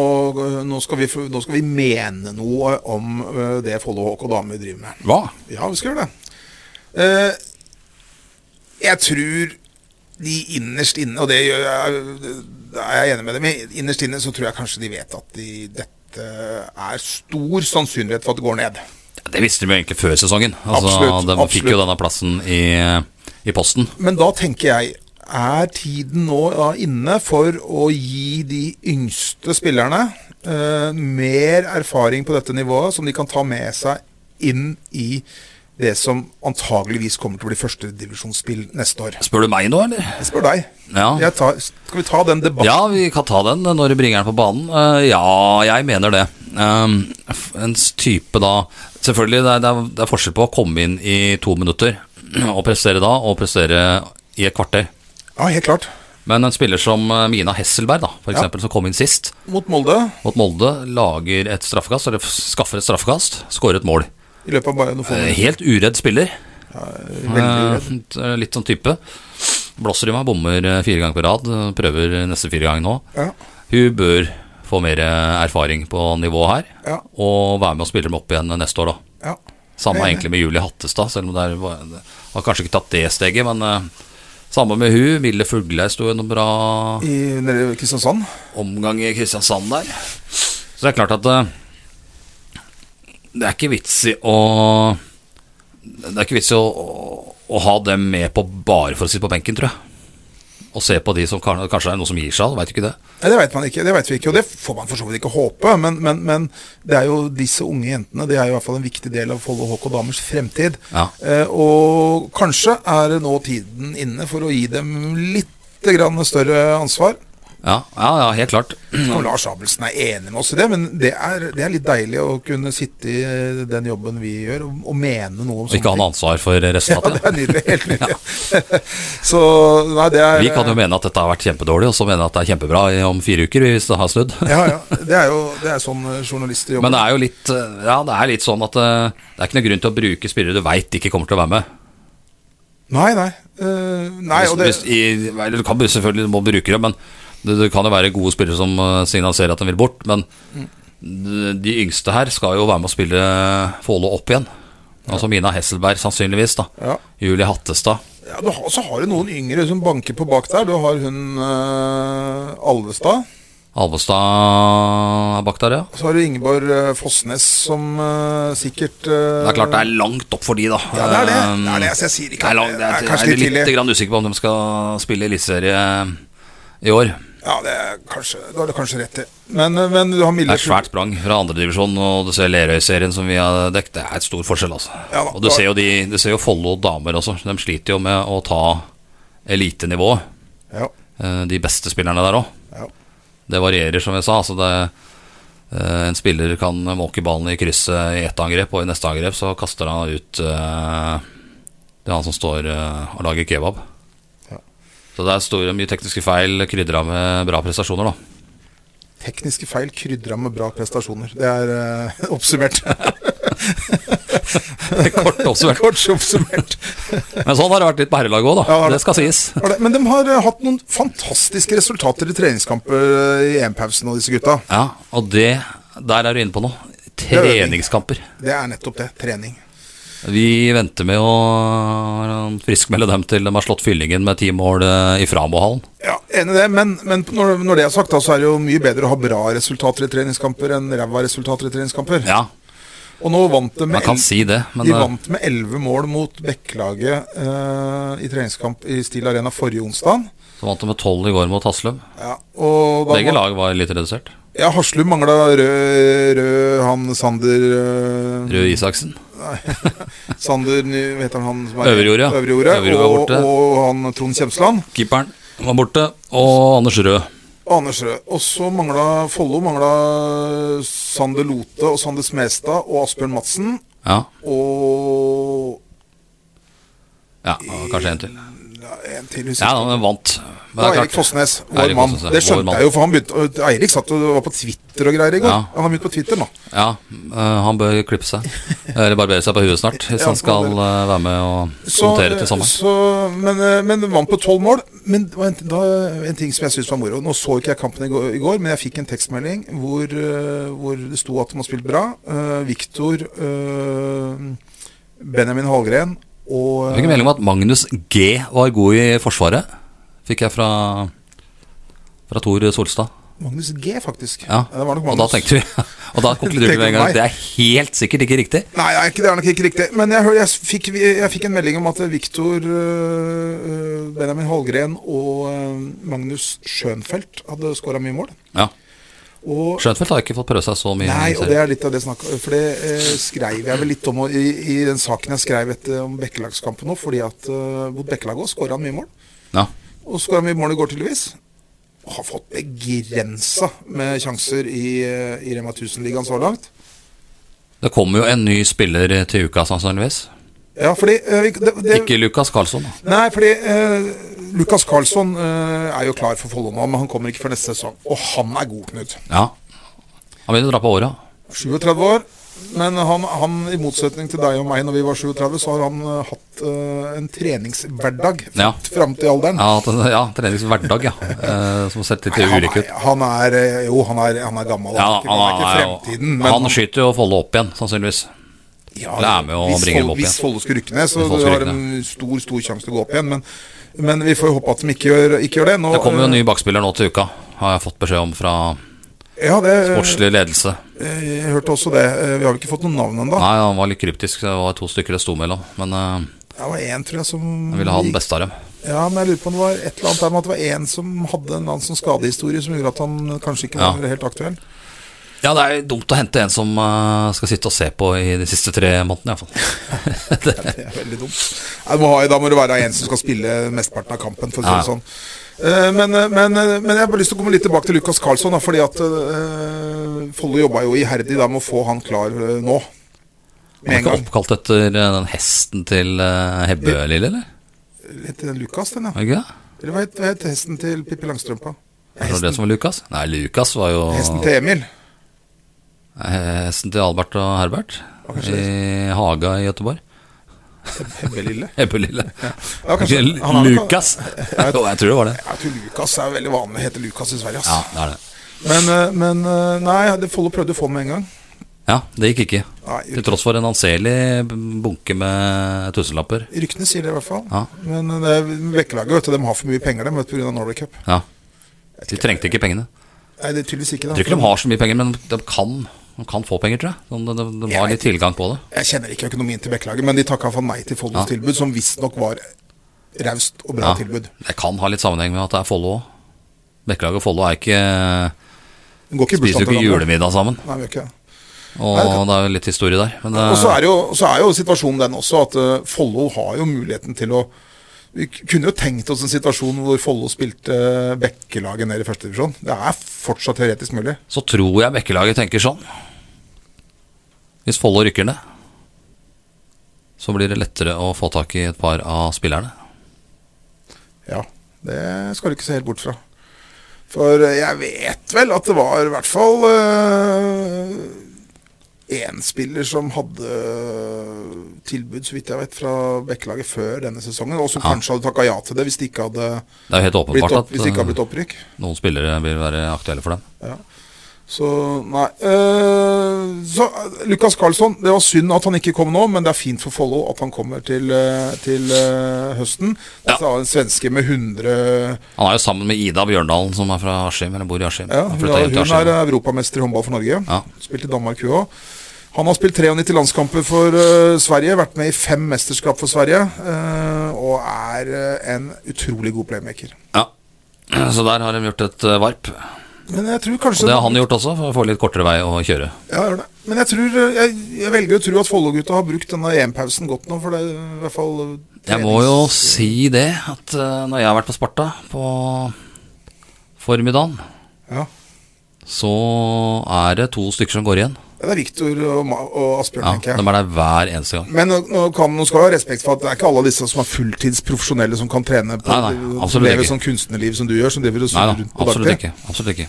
Speaker 2: nå, skal, vi, nå skal vi mene noe om eh, det Follo HK damer driver med.
Speaker 1: Hva?
Speaker 2: Ja, vi skal gjøre det. Eh, jeg tror de innerst inne, og det gjør jeg, da er jeg enig med dem i, innerst inne så tror jeg kanskje de vet at de, dette er stor sannsynlighet for at det går ned.
Speaker 1: Ja, det visste de jo egentlig før sesongen. Altså,
Speaker 2: Absolutt,
Speaker 1: de fikk jo
Speaker 2: absolutt.
Speaker 1: denne plassen i, i posten.
Speaker 2: Men da tenker jeg, er tiden nå da inne for å gi de yngste spillerne eh, mer erfaring på dette nivået, som de kan ta med seg inn i det som antageligvis kommer til å bli førstedivisjonsspill neste år?
Speaker 1: Spør du meg nå, eller?
Speaker 2: Jeg spør deg.
Speaker 1: Ja.
Speaker 2: Jeg tar, skal vi ta den debatten?
Speaker 1: Ja, vi kan ta den når du bringer den på banen. Eh, ja, jeg mener det. Um, f- en s- type da Selvfølgelig, det er, det, er, det er forskjell på å komme inn i to minutter og prestere da, og prestere i et kvarter.
Speaker 2: Ja, helt klart.
Speaker 1: Men en spiller som eh, Mina Hesselberg, da, for
Speaker 2: Ja.
Speaker 1: eksempel, som kom inn sist
Speaker 2: Mot Molde
Speaker 1: mot Molde, lager et straffekast, eller f- skaffer et straffekast, skårer et mål.
Speaker 2: i løpet av bare noen få
Speaker 1: Eh,
Speaker 2: minutter.
Speaker 1: Helt uredd spiller.
Speaker 2: Veldig redd.
Speaker 1: Eh, Litt sånn type. Blåser i meg, bommer eh, fire ganger på rad. eh, Prøver neste fire ganger nå.
Speaker 2: Ja.
Speaker 1: Hun bør få mer eh, erfaring på nivå her,
Speaker 2: Ja.
Speaker 1: og være med og spille dem opp igjen neste år, da.
Speaker 2: Ja.
Speaker 1: Samme
Speaker 2: Enig.
Speaker 1: egentlig med Julie Hattestad, selv om det er- var- har kanskje ikke tatt det steget, men eh, samme med hun. Mille Fugleid sto en bra
Speaker 2: I, nede i Kristiansand.
Speaker 1: omgang i Kristiansand der. Så det er klart at eh, det er ikke vits i å Det er ikke vits i å, å, å ha dem med på bare for å sitte på benken, tror jeg. Og se på de som kan- kanskje er noen som gir seg, veit ikke det.
Speaker 2: Nei, det veit man ikke, det vet vi ikke, og det får man for så vidt ikke håpe. Men, men, men det er jo disse unge jentene det er jo i hvert fall en viktig del av Follo HK Damers fremtid.
Speaker 1: Ja.
Speaker 2: Eh, og kanskje er det nå tiden inne for å gi dem litt grann større ansvar.
Speaker 1: Ja, ja, ja helt klart.
Speaker 2: Og Lars Abelsen er enig med oss i det, men det er, det er litt deilig å kunne sitte i eh, den jobben vi gjør, og, og mene noe om
Speaker 1: Og ikke ha noe ansvar for
Speaker 2: Ja, det
Speaker 1: resultatet.
Speaker 2: er nydelig. Helt nydelig. Så nei, det er
Speaker 1: Vi kan jo mene at dette har vært kjempedårlig, og så mene at det er kjempebra i- om fire uker hvis det har snudd.
Speaker 2: ja, ja, det er jo det er sånn eh, journalister jobber.
Speaker 1: Men det er jo litt, eh, ja, det er litt sånn at eh, det er ikke noe grunn til å bruke spillere du veit ikke kommer til å være med.
Speaker 2: Nei, nei. eh, nei
Speaker 1: Hvis,
Speaker 2: og det,
Speaker 1: hvis i, eller du kan selvfølgelig du må bruke det, men det, det kan jo være gode spillere som eh, signaliserer at de vil bort. Men de, de yngste her skal jo være med å spille eh, Follo opp igjen. Altså Mina Hesselberg sannsynligvis, da.
Speaker 2: Ja.
Speaker 1: Julie Hattestad.
Speaker 2: ja, du har, så har du noen yngre som banker på bak der. Du har hun eh, Alvestad.
Speaker 1: Alvestad er bak der, ja.
Speaker 2: Så har du Ingeborg eh, Fossnes som eh, sikkert eh,
Speaker 1: Det er klart det er langt opp for de, da. Eh,
Speaker 2: Ja, det er det. Det er det, så jeg sier ikke
Speaker 1: Det er,
Speaker 2: at-
Speaker 1: langt, det er,
Speaker 2: det er kanskje litt
Speaker 1: jeg er litt
Speaker 2: tidlig.
Speaker 1: grann usikker på om de skal spille eliteserie i år.
Speaker 2: Ja, det er kanskje, da har du kanskje rett i. Men, eh, men du har
Speaker 1: Det
Speaker 2: Mille
Speaker 1: er et svært sprang fra andredivisjon, og du ser Lerøy-serien som vi har dekket. Det er et stor forskjell, altså.
Speaker 2: Ja da.
Speaker 1: og du ser jo, de, du ser jo Follo damer også. De sliter jo med å ta elitenivået.
Speaker 2: Ja,
Speaker 1: Eh, De beste spillerne der òg.
Speaker 2: ja.
Speaker 1: Det varierer, som jeg sa. Altså det, eh, en spiller kan måke ballen i krysset i ett angrep, og i neste angrep så kaster han ut eh, Det er han som står eh, og lager kebab.
Speaker 2: Ja.
Speaker 1: Så det er store, mye tekniske feil krydra med bra prestasjoner, da.
Speaker 2: Tekniske feil krydra med bra prestasjoner. Det er eh, oppsummert.
Speaker 1: Kort oppsummert.
Speaker 2: Kort oppsummert.
Speaker 1: Men sånn har det vært litt på herrelaget òg, da.
Speaker 2: Ja, det har
Speaker 1: det skal sies.
Speaker 2: Har det- Men de har eh, hatt noen fantastiske resultater i treningskamper eh, i EM-pausen og disse gutta.
Speaker 1: Ja, og det Der er du inne på noe.
Speaker 2: er øving.
Speaker 1: Treningskamper.
Speaker 2: Det er nettopp det. Trening.
Speaker 1: Vi venter med å friskmelde dem til de har slått fyllingen med ti mål eh, i Framohallen.
Speaker 2: Ja, Enig i det, men, men når, når det er sagt, da, så er det jo mye bedre å ha bra resultater i treningskamper enn ræva resultater i treningskamper.
Speaker 1: Ja,
Speaker 2: Og nå vant de
Speaker 1: man
Speaker 2: med,
Speaker 1: kan
Speaker 2: el-
Speaker 1: si det, men
Speaker 2: de
Speaker 1: eh,
Speaker 2: vant med 11 mål mot Bekkelaget eh, i treningskamp i Steel Arena forrige onsdag.
Speaker 1: Så vant de med 12 i går mot Haslum.
Speaker 2: Ja, og da
Speaker 1: Begge
Speaker 2: var-
Speaker 1: lag var litt redusert.
Speaker 2: Ja, Haslum mangla rød, rød han Sander eh,
Speaker 1: Røe Isaksen.
Speaker 2: Sander, Ny- hva heter han som
Speaker 1: Øverjord, ja.
Speaker 2: Øverjordet,
Speaker 1: Øverjord var
Speaker 2: og,
Speaker 1: borte.
Speaker 2: og han Trond Kjemsland.
Speaker 1: Keeperen var borte, og Anders Røe.
Speaker 2: Anders Røe. Og så mangla Follo mangla Sander Lote og Sander Smestad og Asbjørn Madsen.
Speaker 1: Ja,
Speaker 2: Og
Speaker 1: ja, og kanskje en til.
Speaker 2: ja, En til, husker
Speaker 1: Ja,
Speaker 2: jeg.
Speaker 1: den vant. Men
Speaker 2: Det
Speaker 1: det
Speaker 2: var
Speaker 1: er
Speaker 2: Eirik
Speaker 1: klart,
Speaker 2: Fossnes, vår
Speaker 1: Eirik
Speaker 2: mann.
Speaker 1: Fossnes,
Speaker 2: Det
Speaker 1: vår
Speaker 2: skjønte
Speaker 1: mann.
Speaker 2: jeg jo, for han begynte Eirik satt og var på Twitter og greier i går.
Speaker 1: Ja.
Speaker 2: Han har begynt på Twitter nå.
Speaker 1: ja, eh, han bør klippe seg. Eller barbere seg på huet snart, hvis
Speaker 2: Ja,
Speaker 1: han skal
Speaker 2: barbere.
Speaker 1: eh, være med og
Speaker 2: Så, eh,
Speaker 1: håndtere til sommeren.
Speaker 2: så, men, eh, men vant på tolv mål. Men det var en, da, en ting som jeg syntes var moro Nå så ikke jeg kampen i går, i går, men jeg fikk en tekstmelding hvor, eh, hvor det sto at de har spilt bra. Eh, Viktor, eh, Benjamin Hallgren og eh,
Speaker 1: Jeg fikk en melding om at Magnus G var god i Forsvaret. Fikk jeg fra, fra Tor Solstad.
Speaker 2: Magnus G, faktisk.
Speaker 1: Ja.
Speaker 2: det var nok
Speaker 1: og da
Speaker 2: Magnus.
Speaker 1: tenkte vi Og da konkluderte vi med en gang at det er helt sikkert ikke riktig.
Speaker 2: Nei, nei, ikke- det er nok ikke riktig. Men jeg, hør- jeg, fikk, jeg fikk en melding om at Viktor Benjamin Hallgren og øh, Magnus Schønfeldt hadde skåra mye mål.
Speaker 1: Ja.
Speaker 2: Og,
Speaker 1: Skjøntfeldt har ikke fått prøve seg så mye.
Speaker 2: nei,
Speaker 1: i
Speaker 2: og
Speaker 1: serien.
Speaker 2: det er litt av det snakket For det øh, skrev jeg vel litt om og, i, i den saken jeg skrev etter, om Bekkelagskampen nå, fordi at øh, mot Bekkelag òg skåra han mye mål.
Speaker 1: ja.
Speaker 2: Og skåra mye mål i går, tydeligvis. Og har fått begrensa med sjanser i, øh, i Rema 1000-ligaen så langt.
Speaker 1: det kommer jo en ny spiller til uka, sannsynligvis.
Speaker 2: Ja, fordi øh, vi- det, det,
Speaker 1: Ikke Lukas Karlsson. da.
Speaker 2: Nei, fordi eh, Lukas Karlsson eh, er jo klar for Follo nå, men han kommer ikke før neste sesong. Og han er god, Knut.
Speaker 1: Ja. Han begynner å dra på åra.
Speaker 2: 37 år. Men han, han, i motsetning til deg og meg når vi var 37, så har han eh, hatt eh, en treningshverdag
Speaker 1: Ja.
Speaker 2: fram til alderen.
Speaker 1: Ja, t- ja treningshverdag, ja. Eh, som har sett litt
Speaker 2: han,
Speaker 1: ulik ut.
Speaker 2: er, han er eh, Jo, han er, han er gammel.
Speaker 1: Ja,
Speaker 2: han, er ikke, han er ikke fremtiden, men
Speaker 1: han skyter jo Folle opp igjen, sannsynligvis.
Speaker 2: Ja,
Speaker 1: Eller er med og
Speaker 2: hvis
Speaker 1: bringer dem
Speaker 2: Fol-
Speaker 1: opp igjen.
Speaker 2: Hvis Follo skulle rykke ned,
Speaker 1: Hvis
Speaker 2: så
Speaker 1: Follo
Speaker 2: du
Speaker 1: skulle
Speaker 2: har
Speaker 1: rykke
Speaker 2: en stor stor sjanse til å gå opp igjen. Men, men vi får jo håpe at de ikke gjør, ikke gjør det. Nå,
Speaker 1: Det kommer jo en
Speaker 2: eh,
Speaker 1: ny bakspiller nå til uka, har jeg fått beskjed om fra
Speaker 2: ja, det, eh,
Speaker 1: sportslig ledelse.
Speaker 2: eh, Jeg hørte også det. Eh, Vi har jo ikke fått noen navn ennå.
Speaker 1: Nei, han var litt kryptisk, det var to stykker det sto mellom. Men eh,
Speaker 2: Det var en, tror jeg, som
Speaker 1: jeg ville ha den beste av dem.
Speaker 2: Ja, men jeg lurer på om det var et eller annet der med at det var en som hadde en eller annen sånn skadehistorie som gjorde at han kanskje ikke
Speaker 1: Ja.
Speaker 2: var helt aktuell.
Speaker 1: Ja, det er dumt å hente en som eh, skal sitte og se på i de siste tre månedene, iallfall. det,
Speaker 2: Det er veldig dumt. Nei, du må ha, da må det være en som skal spille mesteparten av kampen, for å si
Speaker 1: Ja.
Speaker 2: det sånn. Eh, Men, eh, men, eh, men jeg har bare lyst til å komme litt tilbake til Lukas Karlsson, da, fordi at eh, Follo jobba jo iherdig da med å få han klar eh, nå.
Speaker 1: han er
Speaker 2: Med en
Speaker 1: ikke
Speaker 2: gang.
Speaker 1: oppkalt etter eh, den hesten til eh, Hebbe, Lille, eller?
Speaker 2: Heter den Lukas, den,
Speaker 1: Er
Speaker 2: ja?
Speaker 1: det ikke det?
Speaker 2: Eller hva het- hva het hesten til Pippi Langstrømpa?
Speaker 1: Er det det som var Lukas? Nei, Lukas var jo
Speaker 2: Hesten til Emil?
Speaker 1: Eh, Hesten til Albert og Herbert i Haga i Gøteborg.
Speaker 2: Hebbe Lille?
Speaker 1: Ebbelille.
Speaker 2: Ja, kanskje- han har nok-
Speaker 1: Lukas! Jo, jeg tror det var det.
Speaker 2: Jeg tror Lukas er veldig vanlig, heter Lukas i Sverige. ass.
Speaker 1: Ja, det er det.
Speaker 2: Men, eh, men eh, nei, det Follo prøvde å få med en gang.
Speaker 1: Ja, det gikk ikke.
Speaker 2: Nei,
Speaker 1: Til tross for en anselig bunke med tusenlapper.
Speaker 2: Ryktene sier det i hvert fall.
Speaker 1: Ja.
Speaker 2: Men eh, det er Vekkelaget vet du, de har for mye penger dem pga. Norway Cup.
Speaker 1: Ja. De trengte ikke pengene.
Speaker 2: Nei, det er tydeligvis ikke
Speaker 1: Jeg tror
Speaker 2: det.
Speaker 1: ikke de har så mye penger, men de kan, de kan få penger, tror jeg. Sånn, De, de, de har litt tilgang på det.
Speaker 2: Jeg kjenner ikke økonomien til Bekkelaget, men de takka for nei til Follos
Speaker 1: Ja.
Speaker 2: tilbud, som visstnok var raust og bra
Speaker 1: Ja.
Speaker 2: tilbud.
Speaker 1: Det kan ha litt sammenheng med at det er Follo òg. Bekkelaget og Follo er ikke
Speaker 2: Den går ikke
Speaker 1: Spiser jo
Speaker 2: i bursdagen
Speaker 1: ikke
Speaker 2: til hverandre.
Speaker 1: julemiddag sammen.
Speaker 2: Nei, vi gjør ikke det.
Speaker 1: Og det er jo litt historie der. Men
Speaker 2: Og så
Speaker 1: det,
Speaker 2: er, jo, så er jo situasjonen den også at eh, Follo har jo muligheten til å Vi k- kunne jo tenkt oss en situasjon hvor Follo spilte eh, Bekkelaget ned i første divisjon. Det er fortsatt teoretisk mulig.
Speaker 1: eh, så tror jeg Bekkelaget tenker sånn. Hvis Follo rykker ned, så blir det lettere å få tak i et par av spillerne.
Speaker 2: Ja, det skal du ikke se helt bort fra. For eh, jeg vet vel at det var i hvert fall én spiller som hadde eh, tilbud, så vidt jeg vet, fra Bekkelaget før denne sesongen, og som
Speaker 1: Ja.
Speaker 2: kanskje hadde takka ja til det hvis det ikke hadde
Speaker 1: Det er jo helt
Speaker 2: blitt,
Speaker 1: åpenbart
Speaker 2: opp,
Speaker 1: at
Speaker 2: hvis det ikke hadde
Speaker 1: eh,
Speaker 2: blitt opprykk.
Speaker 1: noen spillere vil være aktuelle for dem.
Speaker 2: Så nei eh, Så eh, Lukas Karlsson, det var synd at han ikke kom nå, men det er fint for Follo at han kommer til, eh, til eh, høsten.
Speaker 1: Ja.
Speaker 2: Dette er en svenske med 100
Speaker 1: Han er jo sammen med Ida Bjørndalen, som er fra Askim, eller bor i Askim.
Speaker 2: Ja,
Speaker 1: Han
Speaker 2: hun,
Speaker 1: flyttet
Speaker 2: er,
Speaker 1: hjem til Askim.
Speaker 2: hun er eh, europamester i håndball for Norge.
Speaker 1: Ja.
Speaker 2: Spilt i Danmark, hun òg. Han har spilt 93 landskamper for eh, Sverige, vært med i fem mesterskap for Sverige. eh, og er eh, en utrolig god playmaker.
Speaker 1: Ja. Så der har de gjort et eh, varp.
Speaker 2: Men jeg tror
Speaker 1: Og
Speaker 2: kanskje
Speaker 1: det har han gjort også, for å få litt kortere vei å kjøre.
Speaker 2: Ja, gjør det. Men jeg, tror, eh, jeg, jeg velger å tro at Follo-gutta har brukt denne EM-pausen godt nå, for det er i hvert fall eh,
Speaker 1: Jeg må jo si det, at eh, når jeg har vært på Sparta på formiddagen,
Speaker 2: ja.
Speaker 1: så er det to stykker som går igjen.
Speaker 2: Det er Viktor og, Ma- og Asbjørn,
Speaker 1: Ja,
Speaker 2: tenker jeg.
Speaker 1: De er der hver eneste gang.
Speaker 2: Men nå, nå kan, nå skal du ha respekt for at det er ikke alle disse som er fulltidsprofesjonelle som kan trene på
Speaker 1: Nei, nei, absolutt
Speaker 2: leve
Speaker 1: ikke.
Speaker 2: sånn kunstnerliv som du gjør, som driver
Speaker 1: Nei
Speaker 2: og
Speaker 1: da,
Speaker 2: surrer rundt på
Speaker 1: absolutt
Speaker 2: dagtid.
Speaker 1: ikke. Absolutt ikke.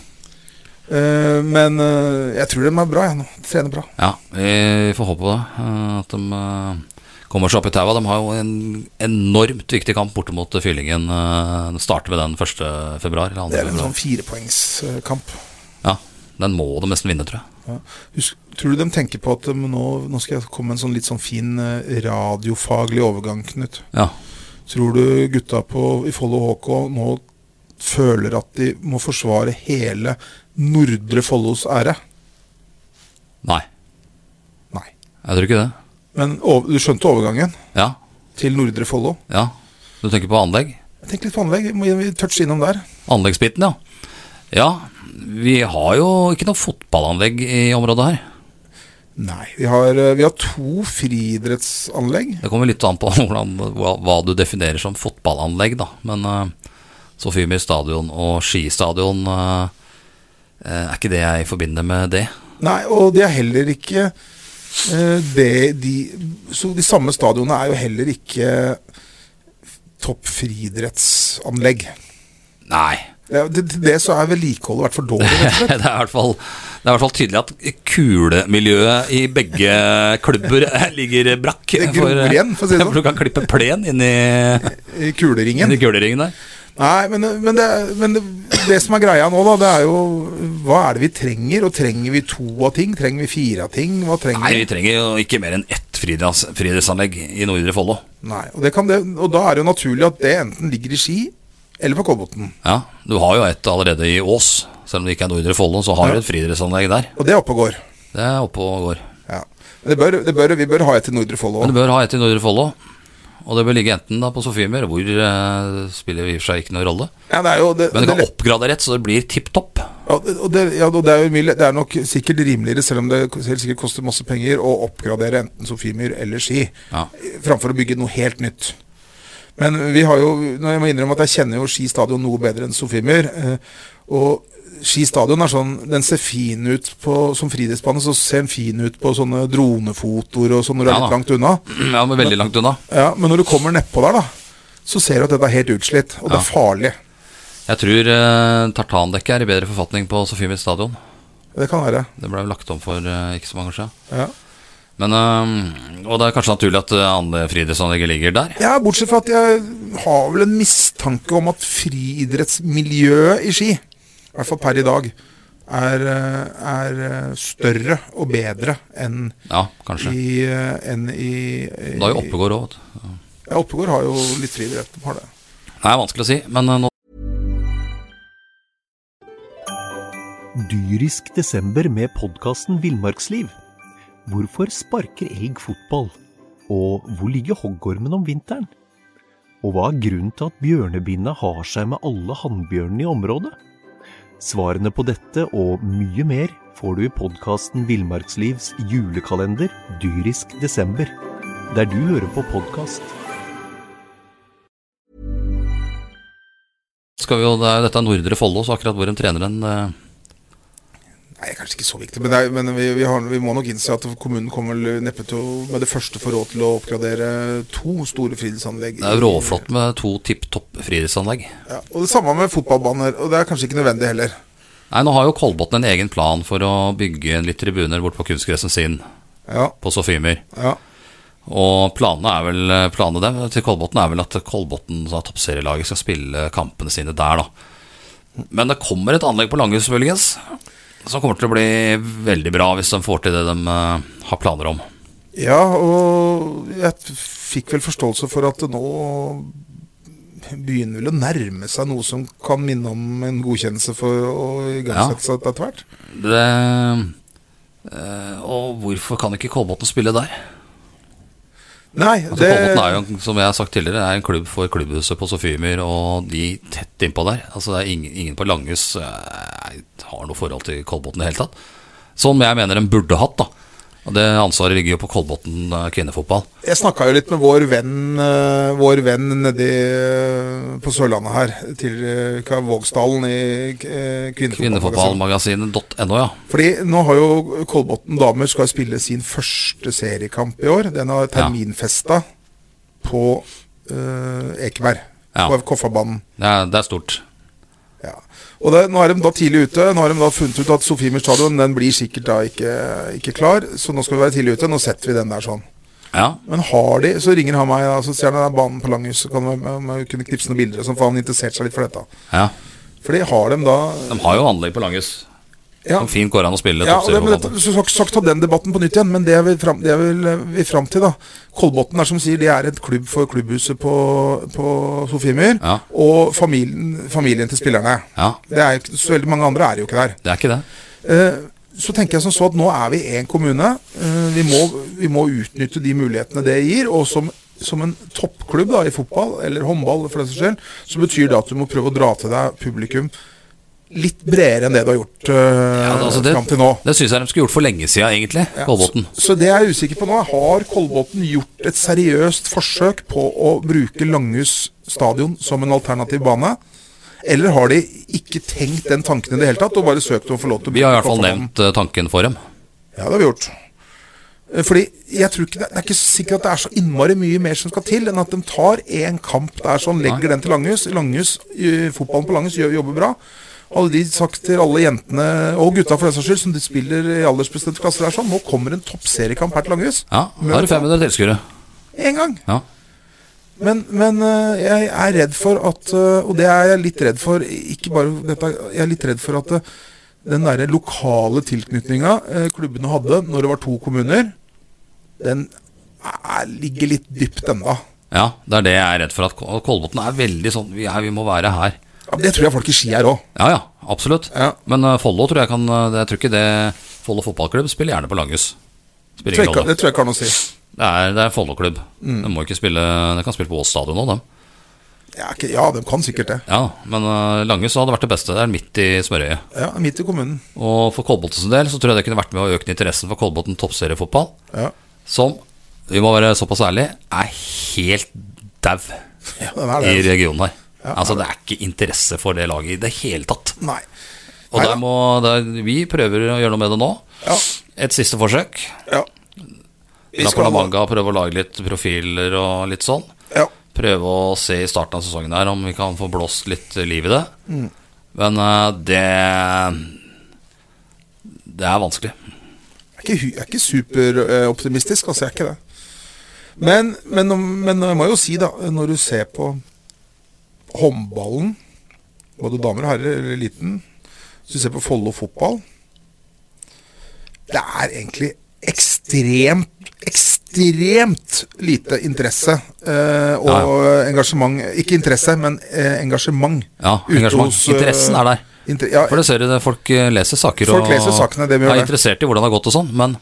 Speaker 2: Eh, men eh, jeg tror de er bra, jeg nå. De trener bra.
Speaker 1: Ja, vi får håpe det. eh, At de eh, kommer seg opp i taua. De har jo en enormt viktig kamp borte mot Fyllingen. eh, De starter med den 1. februar. Eller 2.
Speaker 2: Det er en
Speaker 1: februar.
Speaker 2: sånn firepoengskamp.
Speaker 1: Ja, den må de nesten vinne, tror jeg.
Speaker 2: Husk, tror du de tenker på at de nå, nå skal jeg komme med en sånn litt sånn fin eh, radiofaglig overgang, Knut?
Speaker 1: Ja,
Speaker 2: Tror du gutta på, i Follo HK nå føler at de må forsvare hele Nordre Follos ære?
Speaker 1: Nei,
Speaker 2: Nei.
Speaker 1: jeg tror ikke det.
Speaker 2: Men over, du skjønte overgangen
Speaker 1: Ja,
Speaker 2: til Nordre Follo?
Speaker 1: ja. Du tenker på anlegg?
Speaker 2: Jeg tenker litt på anlegg. Vi må vi touche innom der.
Speaker 1: Anleggsbiten, ja. Ja, vi har jo ikke noe fotballanlegg i området her.
Speaker 2: Nei. Vi har, eh, vi har to friidrettsanlegg.
Speaker 1: Det kommer litt an på hvordan, hva, hva du definerer som fotballanlegg, da. Men uh, Sofiemyr stadion og skistadion eh, eh, Er ikke det jeg forbinder med det?
Speaker 2: Nei, og de er heller ikke eh, det de Så de samme stadionene er jo heller ikke topp friidrettsanlegg.
Speaker 1: Nei.
Speaker 2: Det, det, til det så er vedlikeholdet vært for dårlig.
Speaker 1: Det
Speaker 2: rett og
Speaker 1: er
Speaker 2: slett.
Speaker 1: i hvert fall, det er i hvert fall tydelig at kulemiljøet i begge klubber eh, ligger brakk.
Speaker 2: Det gror
Speaker 1: eh,
Speaker 2: igjen, for å si det sånn.
Speaker 1: Du kan klippe plen inn i,
Speaker 2: I
Speaker 1: inn
Speaker 2: kuleringen.
Speaker 1: i kuleringen der.
Speaker 2: Nei, men, men, det, men det, det som er greia nå, da, det er jo Hva er det vi trenger? Og trenger vi to av ting? Trenger vi fire av ting? Hva trenger
Speaker 1: Nei, vi trenger jo ikke mer enn ett friidretts- friidrettsanlegg i Nordre Follo.
Speaker 2: Nei, og, det kan det, og da er det jo naturlig at det enten ligger i Ski eller på Kolbotn.
Speaker 1: Ja, du har jo et allerede i Ås. Selv om det ikke er Nordre Follo, så har du et friidrettsanlegg der.
Speaker 2: Og det er oppe og går.
Speaker 1: Det er oppe og går.
Speaker 2: Ja. Men det bør, det bør, vi bør ha et til Nordre Follo.
Speaker 1: Men du bør ha et i Nordre Follo. Og det bør ligge enten da på Sofiemyr, hvor eh, spiller i og for seg ikke noen rolle.
Speaker 2: Ja, det er jo det,
Speaker 1: Men du
Speaker 2: det,
Speaker 1: kan oppgradere rett, så det blir tipp topp.
Speaker 2: ja, og det, ja, og det, er jo mye, det er nok sikkert rimeligere, selv om det helt sikkert koster masse penger, å oppgradere enten Sofiemyr eller Ski,
Speaker 1: Ja.
Speaker 2: framfor å bygge noe helt nytt. Men vi har jo nå Jeg må innrømme at jeg kjenner jo Ski stadion noe bedre enn Sofiemyr. eh, Og Ski stadion er sånn Den ser fin ut på, som friidrettsbane, så ser den fin ut på sånne dronefotoer og sånn når du
Speaker 1: Ja
Speaker 2: er litt
Speaker 1: da.
Speaker 2: langt unna.
Speaker 1: Ja, men veldig langt unna.
Speaker 2: Ja, Men når du kommer nedpå der, da, så ser du at dette er helt utslitt, og det er farlig.
Speaker 1: Jeg tror eh, tartandekket er i bedre forfatning på Sofiemyr stadion.
Speaker 2: Det kan være.
Speaker 1: Det ble jo lagt om for eh, ikke så mange år siden.
Speaker 2: Ja.
Speaker 1: Men, eh, og det er kanskje naturlig at eh, andre friidrettsanlegget ligger der.
Speaker 2: Ja, bortsett fra at jeg har vel en mistanke om at friidrettsmiljøet i Ski, i hvert fall per i dag, er, eh, er eh, større og bedre enn
Speaker 1: Ja, kanskje.
Speaker 2: i, eh, enn i, i
Speaker 1: Da er jo Oppegård òg, vet du.
Speaker 2: Ja, Oppegård har jo litt friidrett. de Har det.
Speaker 1: Det er vanskelig å si, men eh, nå
Speaker 3: Dyrisk desember med podkasten Villmarksliv. Hvorfor sparker elg fotball? Og hvor ligger hoggormen om vinteren? Og hva er grunnen til at bjørnebinna har seg med alle hannbjørnene i området? Svarene på dette og mye mer får du i podkasten Villmarkslivs julekalender Dyrisk desember, der du hører på podkast.
Speaker 1: skal vi jo det er, Dette er Nordre Follo, så akkurat hvor de trener den eh,
Speaker 2: Nei, kanskje ikke så viktig, men, det er, men vi, vi, har, vi må nok innse at kommunen kommer vel neppe til å med det første få råd til å oppgradere to store friidrettsanlegg.
Speaker 1: Det er jo råflott med to tipp topp friidrettsanlegg.
Speaker 2: Ja, og det samme med fotballbaner, og det er kanskje ikke nødvendig heller.
Speaker 1: Nei, nå har jo Kolbotn en egen plan for å bygge en litt tribuner bort på kunstgressen sin
Speaker 2: Ja,
Speaker 1: på Sofiemyr.
Speaker 2: ja.
Speaker 1: Og planene er vel eh, planene dem, til Kolbotn er vel at Kolbotn, da, toppserielaget, skal spille kampene sine der, da. Men det kommer et anlegg på Langhus, muligens, som kommer til å bli veldig bra hvis de får til det de eh, har planer om.
Speaker 2: Ja, og jeg fikk vel forståelse for at det nå begynner vel å nærme seg noe som kan minne om en godkjennelse for å igangsette seg etter hvert.
Speaker 1: Det, eh, og hvorfor kan ikke Kolbotn spille der?
Speaker 2: Nei,
Speaker 1: Altså,
Speaker 2: det
Speaker 1: Kolbotn er jo, en- som jeg har sagt tidligere, er en klubb for klubbhuset på Sofiemyr, og de tett innpå der. Altså, det er ingen, ingen på Langhus eh, har noe forhold til Kolbotn i det hele tatt. Som jeg mener de burde hatt, da. Og Det ansvaret ligger jo på Kolbotn eh, kvinnefotball.
Speaker 2: Jeg snakka jo litt med vår venn, eh, vår venn nedi eh, på Sørlandet her, til eh, hva, Vågsdalen i eh, Kvinnefotballmagasinet.
Speaker 1: Kvinnefotballmagasinet.no, ja.
Speaker 2: Fordi nå har jo Kolbotn damer skal jo spille sin første seriekamp i år. Den har terminfesta på eh, Ekeberg,
Speaker 1: Ja.
Speaker 2: på Koffabanen.
Speaker 1: Det er, det er stort.
Speaker 2: Ja. Og det, nå er de da tidlig ute. Nå har de da funnet ut at Sofiemyr stadion den blir sikkert da ikke, ikke klar, så nå skal vi være tidlig ute. Nå setter vi den der sånn.
Speaker 1: Ja,
Speaker 2: Men har de, så ringer han meg og så sier han at banen på Langhus så kan man, man, man kunne knipse noen bilder og sånn, for han interesserte seg litt for dette.
Speaker 1: ja.
Speaker 2: Fordi har dem da
Speaker 1: De har jo anlegg på Langhus.
Speaker 2: Ja,
Speaker 1: Som fint går an å spille
Speaker 2: ja og det, men
Speaker 1: toppseriefotball
Speaker 2: dette,
Speaker 1: på.
Speaker 2: så skal ikke sagt ta den debatten på nytt igjen, men det jeg vil fram, det jeg vil, eh, vil fram til, da. Kolbotn er som sier, det er et klubb for klubbhuset på, på Sofiemyr.
Speaker 1: Ja.
Speaker 2: Og familien, familien til spillerne.
Speaker 1: Ja,
Speaker 2: Det er jo ikke, så veldig mange andre er jo ikke der.
Speaker 1: det er ikke det.
Speaker 2: Eh, så tenker jeg som så at nå er vi én kommune. Eh, vi, må, vi må utnytte de mulighetene det gir. Og som, som en toppklubb da, i fotball, eller håndball for den saks skyld, så betyr det at du må prøve å dra til deg publikum litt bredere enn det du har gjort eh,
Speaker 1: Ja, altså det
Speaker 2: fram til nå.
Speaker 1: det syns jeg de skulle gjort for lenge siden, egentlig. Kolbotn.
Speaker 2: Så det jeg er usikker på nå, er, har Kolbotn gjort et seriøst forsøk på å bruke Langhus stadion som en alternativ bane? Eller har de ikke tenkt den tanken i det hele tatt, og bare søkt om å få lov til å
Speaker 1: Vi har i hvert fall
Speaker 2: Kofferbanen?
Speaker 1: nevnt eh, tanken for dem.
Speaker 2: Ja, det har vi gjort. Eh, Fordi jeg tror ikke det, det er ikke sikkert at det er så innmari mye mer som skal til, enn at de tar én kamp der sånn, legger den til Langhus. Langhus eh, fotballen på Langhus gjør, jobber bra. Hadde de sagt til alle jentene, og gutta for den saks skyld, som de spiller i aldersbestemte klasser der sånn, nå kommer en toppseriekamp her til Langhus.
Speaker 1: Ja, da er det 500 tilskuere.
Speaker 2: Én gang.
Speaker 1: Ja.
Speaker 2: Men, men eh, jeg er redd for at eh, Og det er jeg litt redd for, ikke bare dette, jeg er litt redd for at eh, den derre lokale tilknytninga eh, klubbene hadde når det var to kommuner, den er, ligger litt dypt ennå.
Speaker 1: ja, det er det jeg er redd for. At Kol- Kolbotn er veldig sånn vi, er, vi må være her.
Speaker 2: Ja, men det tror jeg folk i Ski er òg.
Speaker 1: Ja, ja, absolutt.
Speaker 2: Ja.
Speaker 1: Men eh, Follo tror jeg kan eh, Jeg tror ikke det Follo fotballklubb spiller gjerne på Langhus.
Speaker 2: Det
Speaker 1: Spiller
Speaker 2: tror
Speaker 1: ingen rolle.
Speaker 2: jeg ikke har noe å si.
Speaker 1: Det er, det er Follo-klubb.
Speaker 2: Mm.
Speaker 1: De må ikke spille De kan spille på Ås stadion nå, dem.
Speaker 2: Ja, ikke, ja, de kan sikkert det.
Speaker 1: Ja, men eh, Langhus hadde vært det beste. Det er midt i smørøyet.
Speaker 2: Ja, Midt i kommunen.
Speaker 1: Og for Kolbotns del så tror jeg det kunne vært med å øke interessen for Kolbotn toppseriefotball,
Speaker 2: Ja,
Speaker 1: som, vi må være såpass ærlige, er helt dau
Speaker 2: ja den er
Speaker 1: i
Speaker 2: det.
Speaker 1: regionen her. altså, det er ikke interesse for det laget i det hele tatt.
Speaker 2: Nei.
Speaker 1: Og
Speaker 2: Nei
Speaker 1: der
Speaker 2: da.
Speaker 1: må, der, vi prøver å gjøre noe med det nå.
Speaker 2: Ja.
Speaker 1: Et siste forsøk.
Speaker 2: ja. Vi
Speaker 1: La
Speaker 2: skal-
Speaker 1: Colamanga prøve å lage litt profiler og litt sånn.
Speaker 2: Ja.
Speaker 1: Prøve å se i starten av sesongen her om vi kan få blåst litt liv i det.
Speaker 2: Mm.
Speaker 1: Men eh, det Det er vanskelig.
Speaker 2: Jeg er ikke, hu- jeg er ikke superoptimistisk, altså jeg er ikke det. Men, men, men jeg må jo si, da, når du ser på håndballen, både damer og herrer, eller liten Hvis du ser på Follo fotball Det er egentlig ekstremt, ekstremt lite interesse eh, og engasjement Ikke interesse, men eh, engasjement.
Speaker 1: Ja,
Speaker 2: ute
Speaker 1: engasjement.
Speaker 2: hos, eh,
Speaker 1: Interessen er der.
Speaker 2: Inter ja,
Speaker 1: For det ser du, det, folk eh, leser saker
Speaker 2: Folk
Speaker 1: og
Speaker 2: leser sakene, det vi gjør
Speaker 1: er
Speaker 2: det.
Speaker 1: interessert i hvordan det har gått og sånn, men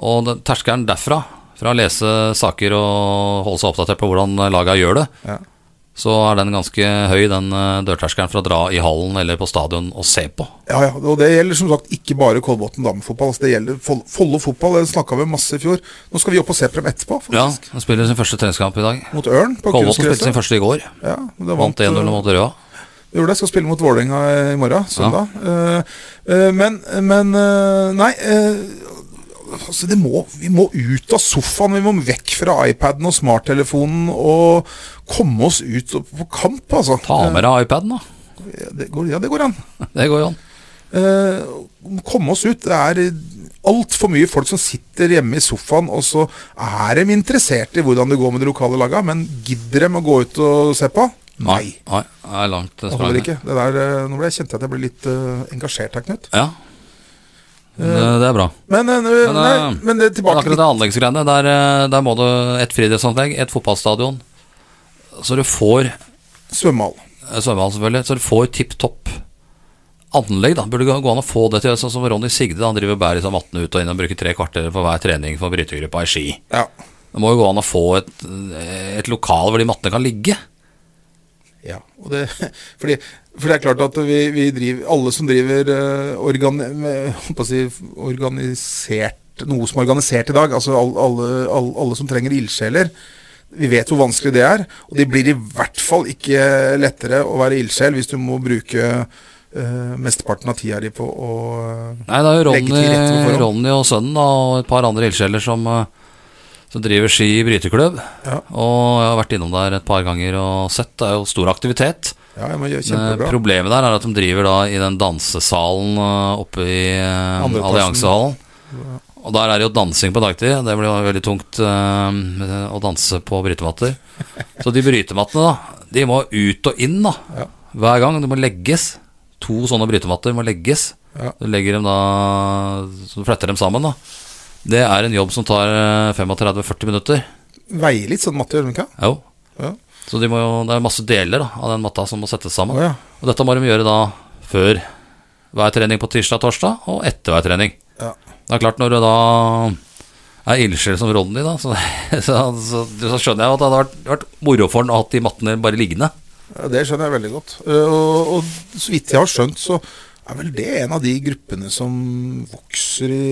Speaker 1: Og den terskelen derfra, fra å lese saker og holde seg oppdatert på hvordan laga gjør det,
Speaker 2: Ja.
Speaker 1: så er den ganske høy, den eh, dørterskelen for å dra i hallen eller på stadion og se på.
Speaker 2: Ja, ja, og det gjelder som sagt ikke bare Kolbotn damefotball. Altså, det gjelder Fol- Follo fotball, det snakka vi om masse i fjor. Nå skal vi opp og se på dem etterpå,
Speaker 1: Ja,
Speaker 2: faktisk.
Speaker 1: han spiller sin første treningskamp i dag.
Speaker 2: Mot Ørn på
Speaker 1: Kolbotn spilte sin
Speaker 2: kunstgresset.
Speaker 1: første i går.
Speaker 2: Ja, og det
Speaker 1: Vant 1-0 mot Røa.
Speaker 2: Det gjorde det. Skal spille mot Vålerenga i morgen, søndag. Eh, eh, men, men eh, Nei. eh, altså, det må, vi må ut av sofaen. Vi må vekk fra iPaden og smarttelefonen og komme oss ut og- på kamp, altså.
Speaker 1: Ta med deg iPaden, da.
Speaker 2: Eh, det går, ja, det går an.
Speaker 1: Det går jo an.
Speaker 2: Eh, komme oss ut. Det er altfor mye folk som sitter hjemme i sofaen, og så er de interessert i hvordan det går med de lokale laga, men gidder de å gå ut og se på? Nei.
Speaker 1: Nei, det er langt eh,
Speaker 2: Det holder
Speaker 1: sprang.
Speaker 2: ikke. Det der, eh, nå ble jeg kjente jeg at jeg ble litt eh, engasjert her, Knut.
Speaker 1: Ja. Det, det er bra.
Speaker 2: Men, eh,
Speaker 1: Men,
Speaker 2: nei,
Speaker 1: eh,
Speaker 2: men det, er
Speaker 1: Men
Speaker 2: tilbake
Speaker 1: akkurat
Speaker 2: litt.
Speaker 1: det anleggsgreiene, der, eh, der må du et friidrettsanlegg, et fotballstadion. Så du får eh,
Speaker 2: svømmehall.
Speaker 1: svømmehall, eh, selvfølgelig. Så du får tipp topp anlegg, da. Burde gå gå an å få det til sånn som Ronny Sigde. Han driver og bærer liksom 18 ut og inn og bruker tre kvarter på hver trening for brytegruppa i ski.
Speaker 2: Ja.
Speaker 1: Det må jo gå an å få et, eh, et lokal hvor de mattene kan ligge.
Speaker 2: ja. Og det, fordi, for det er klart at eh, vi, vi driver Alle som driver eh, organ, med, holdt på å si, organisert organisert, noe som er organisert i dag. Altså all, alle, all, alle som trenger ildsjeler. Vi vet hvor vanskelig det er. Og det blir i hvert fall ikke lettere å være ildsjel hvis du må bruke eh, mesteparten av tida di på å
Speaker 1: Nei, det er jo
Speaker 2: Legge til rette på
Speaker 1: Ronny,
Speaker 2: forhånd.
Speaker 1: Ronny og sønnen da, og et par andre ildsjeler som, eh, som driver ski bryteklubb.
Speaker 2: Ja.
Speaker 1: Og jeg har vært innom der et par ganger og sett. Det er jo stor aktivitet.
Speaker 2: Ja, jeg må gjøre
Speaker 1: Eh,
Speaker 2: kjempebra.
Speaker 1: Problemet der er at de driver da i den dansesalen eh, oppe i eh,
Speaker 2: Andreplassen.
Speaker 1: alliansehallen. Og der er det jo dansing på dagtid. Det blir jo veldig tungt eh, å danse på brytematter. Så de brytemattene, da, de må ut og inn da
Speaker 2: Ja.
Speaker 1: hver gang. Det må legges. To sånne brytematter må legges.
Speaker 2: Ja.
Speaker 1: Du legger dem da Så du fletter dem sammen, da. Det er en jobb som tar eh, 35-40 minutter.
Speaker 2: Veier litt sånn matte, gjør den ikke?
Speaker 1: Jo.
Speaker 2: Ja.
Speaker 1: Så de må jo, det er masse deler da, av den matta som må settes sammen.
Speaker 2: Å ja.
Speaker 1: Og dette må de gjøre da før hver trening på tirsdag og torsdag, og etter hver trening.
Speaker 2: Ja.
Speaker 1: Det er klart, når du da er ildsjel som Ronny, da, så, så, så, så skjønner jeg jo at det hadde vært, vært moro for han å ha de mattene bare liggende.
Speaker 2: Ja, Det skjønner jeg veldig godt. Eh, Og, og så vidt jeg har skjønt, så er vel det en av de gruppene som vokser i,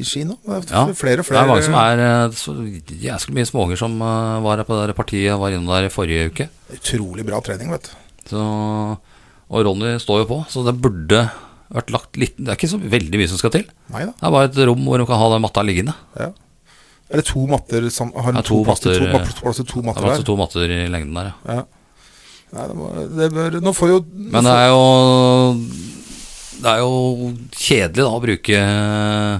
Speaker 2: i ski nå? Det er
Speaker 1: Ja.
Speaker 2: flere og
Speaker 1: Det
Speaker 2: flere.
Speaker 1: er mange som er eh, så jæsklig mye småunger som eh, var her på det der partiet og var innom der i forrige uke.
Speaker 2: Utrolig bra trening, vet du.
Speaker 1: Så, og Ronny står jo på, så det burde vært lagt litt Det er ikke så veldig mye som skal til.
Speaker 2: Nei da.
Speaker 1: Det er bare et rom hvor de kan ha den matta liggende.
Speaker 2: Ja. Er det to matter sam- Har den
Speaker 1: Ja, to
Speaker 2: to, plass til to,
Speaker 1: matter, eh,
Speaker 2: ma- plass til to
Speaker 1: Det
Speaker 2: matter
Speaker 1: var altså
Speaker 2: der?
Speaker 1: to matter i lengden der, ja.
Speaker 2: Ja. Nei, det, må, det bør Nå får jo nå
Speaker 1: Men det
Speaker 2: får-
Speaker 1: er jo Det er jo kjedelig da å bruke eh,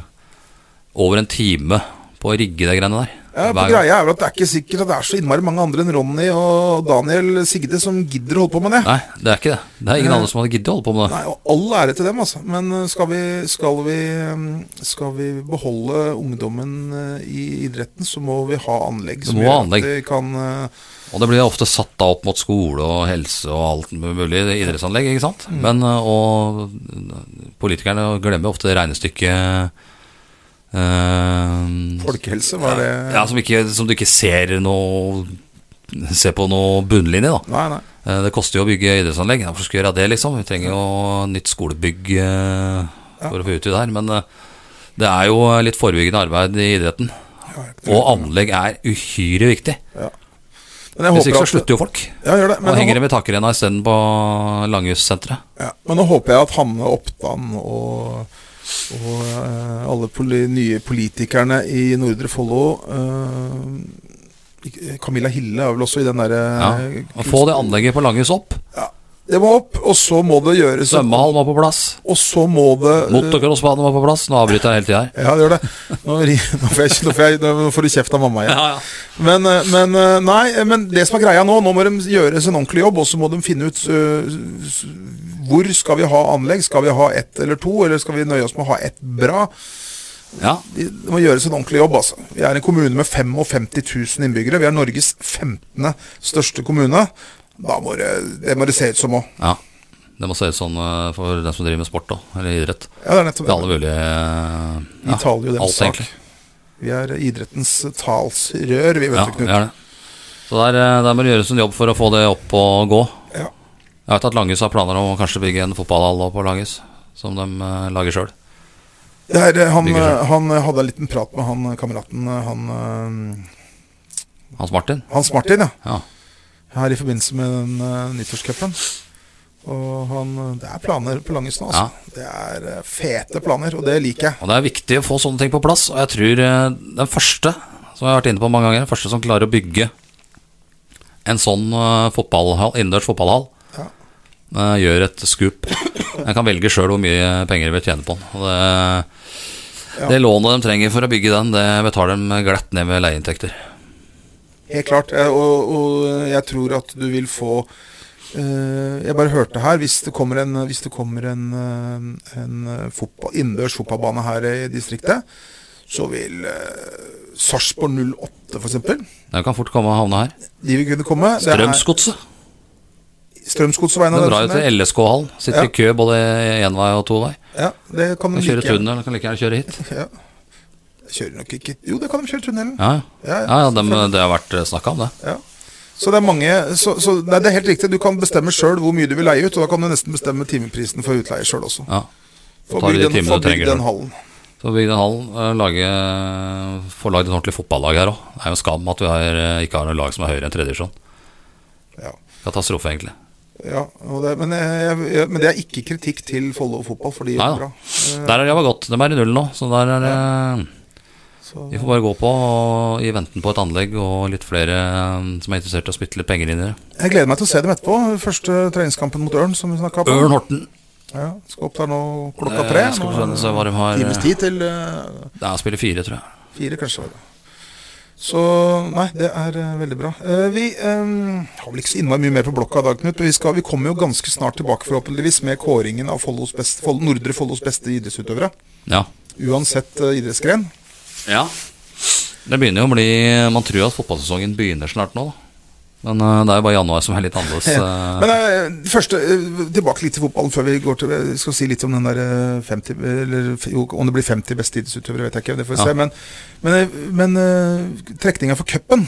Speaker 1: over en time på å rigge de greiene der.
Speaker 2: ja,
Speaker 1: Hver
Speaker 2: for
Speaker 1: gang.
Speaker 2: Greia er vel at det er ikke sikkert at det er så innmari mange andre enn Ronny og Daniel Sigde som gidder å holde på med det.
Speaker 1: Nei, det er ikke det. Det er ingen andre som hadde giddet å holde på med det.
Speaker 2: Nei, og All ære til dem, altså. Men eh, skal vi, skal vi, eh, skal vi beholde ungdommen eh, i idretten, så må vi ha anlegg som
Speaker 1: må ha
Speaker 2: gjør
Speaker 1: anlegg.
Speaker 2: at de kan eh,
Speaker 1: Og det blir ofte satt da opp mot skole og helse og alt mulig idrettsanlegg, ikke sant.
Speaker 2: Mm.
Speaker 1: Men eh, og politikerne glemmer ofte regnestykket eh,
Speaker 2: Folkehelse, var det
Speaker 1: ja, som, ikke, som du ikke ser noe Ser på noe bunnlinje, da.
Speaker 2: Nei, nei.
Speaker 1: Eh, Det koster jo å bygge idrettsanlegg. Hvorfor skal vi gjøre det, liksom? Vi trenger jo nytt skolebygg eh, for å få utvide her. Men eh, det er jo litt forebyggende arbeid i idretten.
Speaker 2: Ja,
Speaker 1: Og anlegg er uhyre viktig.
Speaker 2: men jeg
Speaker 1: Hvis
Speaker 2: håper
Speaker 1: ikke så
Speaker 2: at-
Speaker 1: slutter jo folk.
Speaker 2: Ja, gjør det.
Speaker 1: Og
Speaker 2: Men,
Speaker 1: henger
Speaker 2: nå,
Speaker 1: dem i takrenna isteden på Langhussenteret.
Speaker 2: ja, men nå håper jeg at Hanne Oppdan og, og eh, alle poli, nye politikerne i Nordre Follo eh, ik- Camilla Hille er vel også i den derre
Speaker 1: Ja. Og Få det anlegget på Langhus opp.
Speaker 2: Det må opp, og så må det gjøres
Speaker 1: Svømmehall må på plass.
Speaker 2: Og så må det
Speaker 1: Motocrossbane må på plass. Nå avbryter jeg hele tida her.
Speaker 2: Ja, det gjør det. Nå, ri- nå, får jeg, nå, får jeg, nå får du kjeft av mamma igjen.
Speaker 1: Ja, ja.
Speaker 2: Men, eh, men eh, nei, eh, men det som er greia nå, nå må de gjøres en ordentlig jobb, og så må de finne ut eh, s- hvor skal vi ha anlegg? Skal vi ha ett eller to, eller skal vi nøye oss med å ha ett bra?
Speaker 1: ja.
Speaker 2: De- Det må gjøres en ordentlig jobb, altså. Vi er en kommune med 55 000 innbyggere. Vi er Norges 15. største kommune. Da må det, det må det se ut som òg.
Speaker 1: ja. Det må se ut sånn eh, for den som driver med sport da, eller idrett.
Speaker 2: Ja, det er nettopp
Speaker 1: Det er alle
Speaker 2: det.
Speaker 1: mulige eh,
Speaker 2: Vi taler jo deres
Speaker 1: alt,
Speaker 2: sak.
Speaker 1: egentlig.
Speaker 2: Vi er idrettens talsrør, vi, vet
Speaker 1: Ja,
Speaker 2: du,
Speaker 1: det
Speaker 2: Knut.
Speaker 1: er det. Så der, eh, der må det gjøres en jobb for å få det opp og gå.
Speaker 2: Ja.
Speaker 1: Jeg vet at Langhus har planer om å kanskje bygge en fotballhall også på Langhus, som de eh, lager sjøl.
Speaker 2: Det er, eh, han,
Speaker 1: Ligger
Speaker 2: eh, han eh, hadde en liten prat med han eh, kameraten eh, han, eh,
Speaker 1: Hans Martin.
Speaker 2: Hans Martin, ja.
Speaker 1: Ja.
Speaker 2: Her i forbindelse med den eh, nyttårscupen. Og han eh, Det er planer på Langhus nå, altså. Det er eh, fete planer, og det liker jeg.
Speaker 1: Og det er viktig å få sånne ting på plass, og jeg tror eh, den første, som jeg har vært inne på mange ganger, den første som klarer å bygge en sånn eh, fotballhall, innendørs fotballhall,
Speaker 2: Ja.
Speaker 1: eh, gjør et skup. Jeg kan velge sjøl hvor mye penger de vil tjene på den. Og det, det lånet de trenger for å bygge den, det betaler de glatt ned med leieinntekter.
Speaker 2: Helt klart. eh, Og, og jeg tror at du vil få eh, jeg bare hørte her Hvis det kommer en, hvis det kommer en, eh, en eh, fotball, innendørs fotballbane her i distriktet, så vil eh, Sarpsborg 08 f.eks.
Speaker 1: Den kan fort komme og havne her.
Speaker 2: De vil kunne komme. Det er-
Speaker 1: Strømsgodset.
Speaker 2: Strømsgodsveien
Speaker 1: Den
Speaker 2: er sånn
Speaker 1: drar jo
Speaker 2: den som
Speaker 1: til
Speaker 2: er.
Speaker 1: LSK-hallen. Sitter i kø både én vei og to vei.
Speaker 2: Ja, det kan de
Speaker 1: Kan kjøre
Speaker 2: like gjerne.
Speaker 1: tunnel, kan like gjerne kjøre hit.
Speaker 2: Ja. Kjører nok ikke Jo, det kan de kjøre tunnelen.
Speaker 1: Ja, ja.
Speaker 2: Ja, ja.
Speaker 1: ja, ja dem, det har vært snakka om, det.
Speaker 2: Ja. Så det er mange Så, så nei, det er helt riktig. Du kan bestemme sjøl hvor mye du vil leie ut, og da kan du nesten bestemme timeprisen for utleie sjøl også.
Speaker 1: Ja.
Speaker 2: For
Speaker 1: Ta de
Speaker 2: bygd den,
Speaker 1: timene
Speaker 2: for
Speaker 1: du trenger
Speaker 2: bygd den
Speaker 1: selv.
Speaker 2: hallen.
Speaker 1: Så Vigden Hallen eh, lager- får lagd et ordentlig fotballag her òg. Det er jo en skam at vi har, eh, ikke har noe lag som er høyere enn tredje divisjon.
Speaker 2: Ja.
Speaker 1: Katastrofe, egentlig.
Speaker 2: Ja, og det, men, eh, jeg, jeg, men det er ikke kritikk til Follo fotball, for de
Speaker 1: Nei
Speaker 2: gjør
Speaker 1: da.
Speaker 2: det bra. Eh.
Speaker 1: Der har det jobba godt. De er i null nå, så der er det
Speaker 2: Så,
Speaker 1: Vi får bare gå på og, i venten på et anlegg og litt flere eh, som er interessert i å spytte litt penger inn i det.
Speaker 2: jeg gleder meg til å se dem etterpå. Første treningskampen mot Ørn, som vi snakka om.
Speaker 1: Ørn Horten.
Speaker 2: Ja, skal opp der nå klokka tre.
Speaker 1: Eh, Skal vi
Speaker 2: Nå er det
Speaker 1: se hva de har
Speaker 2: Times tid til eh,
Speaker 1: Det er spiller fire, tror jeg.
Speaker 2: fire, kanskje. var det. Så nei, det er eh, veldig bra. Eh, vi eh, har vel ikke så innmari mye mer på blokka i dag, Knut. Men vi, skal, vi kommer jo ganske snart tilbake, forhåpentligvis, med kåringen av Follos best, Follo- Nordre Follos beste idrettsutøvere.
Speaker 1: Ja.
Speaker 2: Uansett eh, idrettsgren.
Speaker 1: ja. Det begynner jo å bli Man tror at fotballsesongen begynner snart nå, da. Men eh, det er jo bare januar som er litt annerledes. eh.
Speaker 2: Men eh, første, eh, tilbake litt til fotballen før vi går til Jeg skal si litt om den der eh, 50 Eller f- jo, om det blir 50 beste idrettsutøvere, vet jeg ikke. Det får vi
Speaker 1: Ja.
Speaker 2: se. Men, men, eh, men eh, trekninga for cupen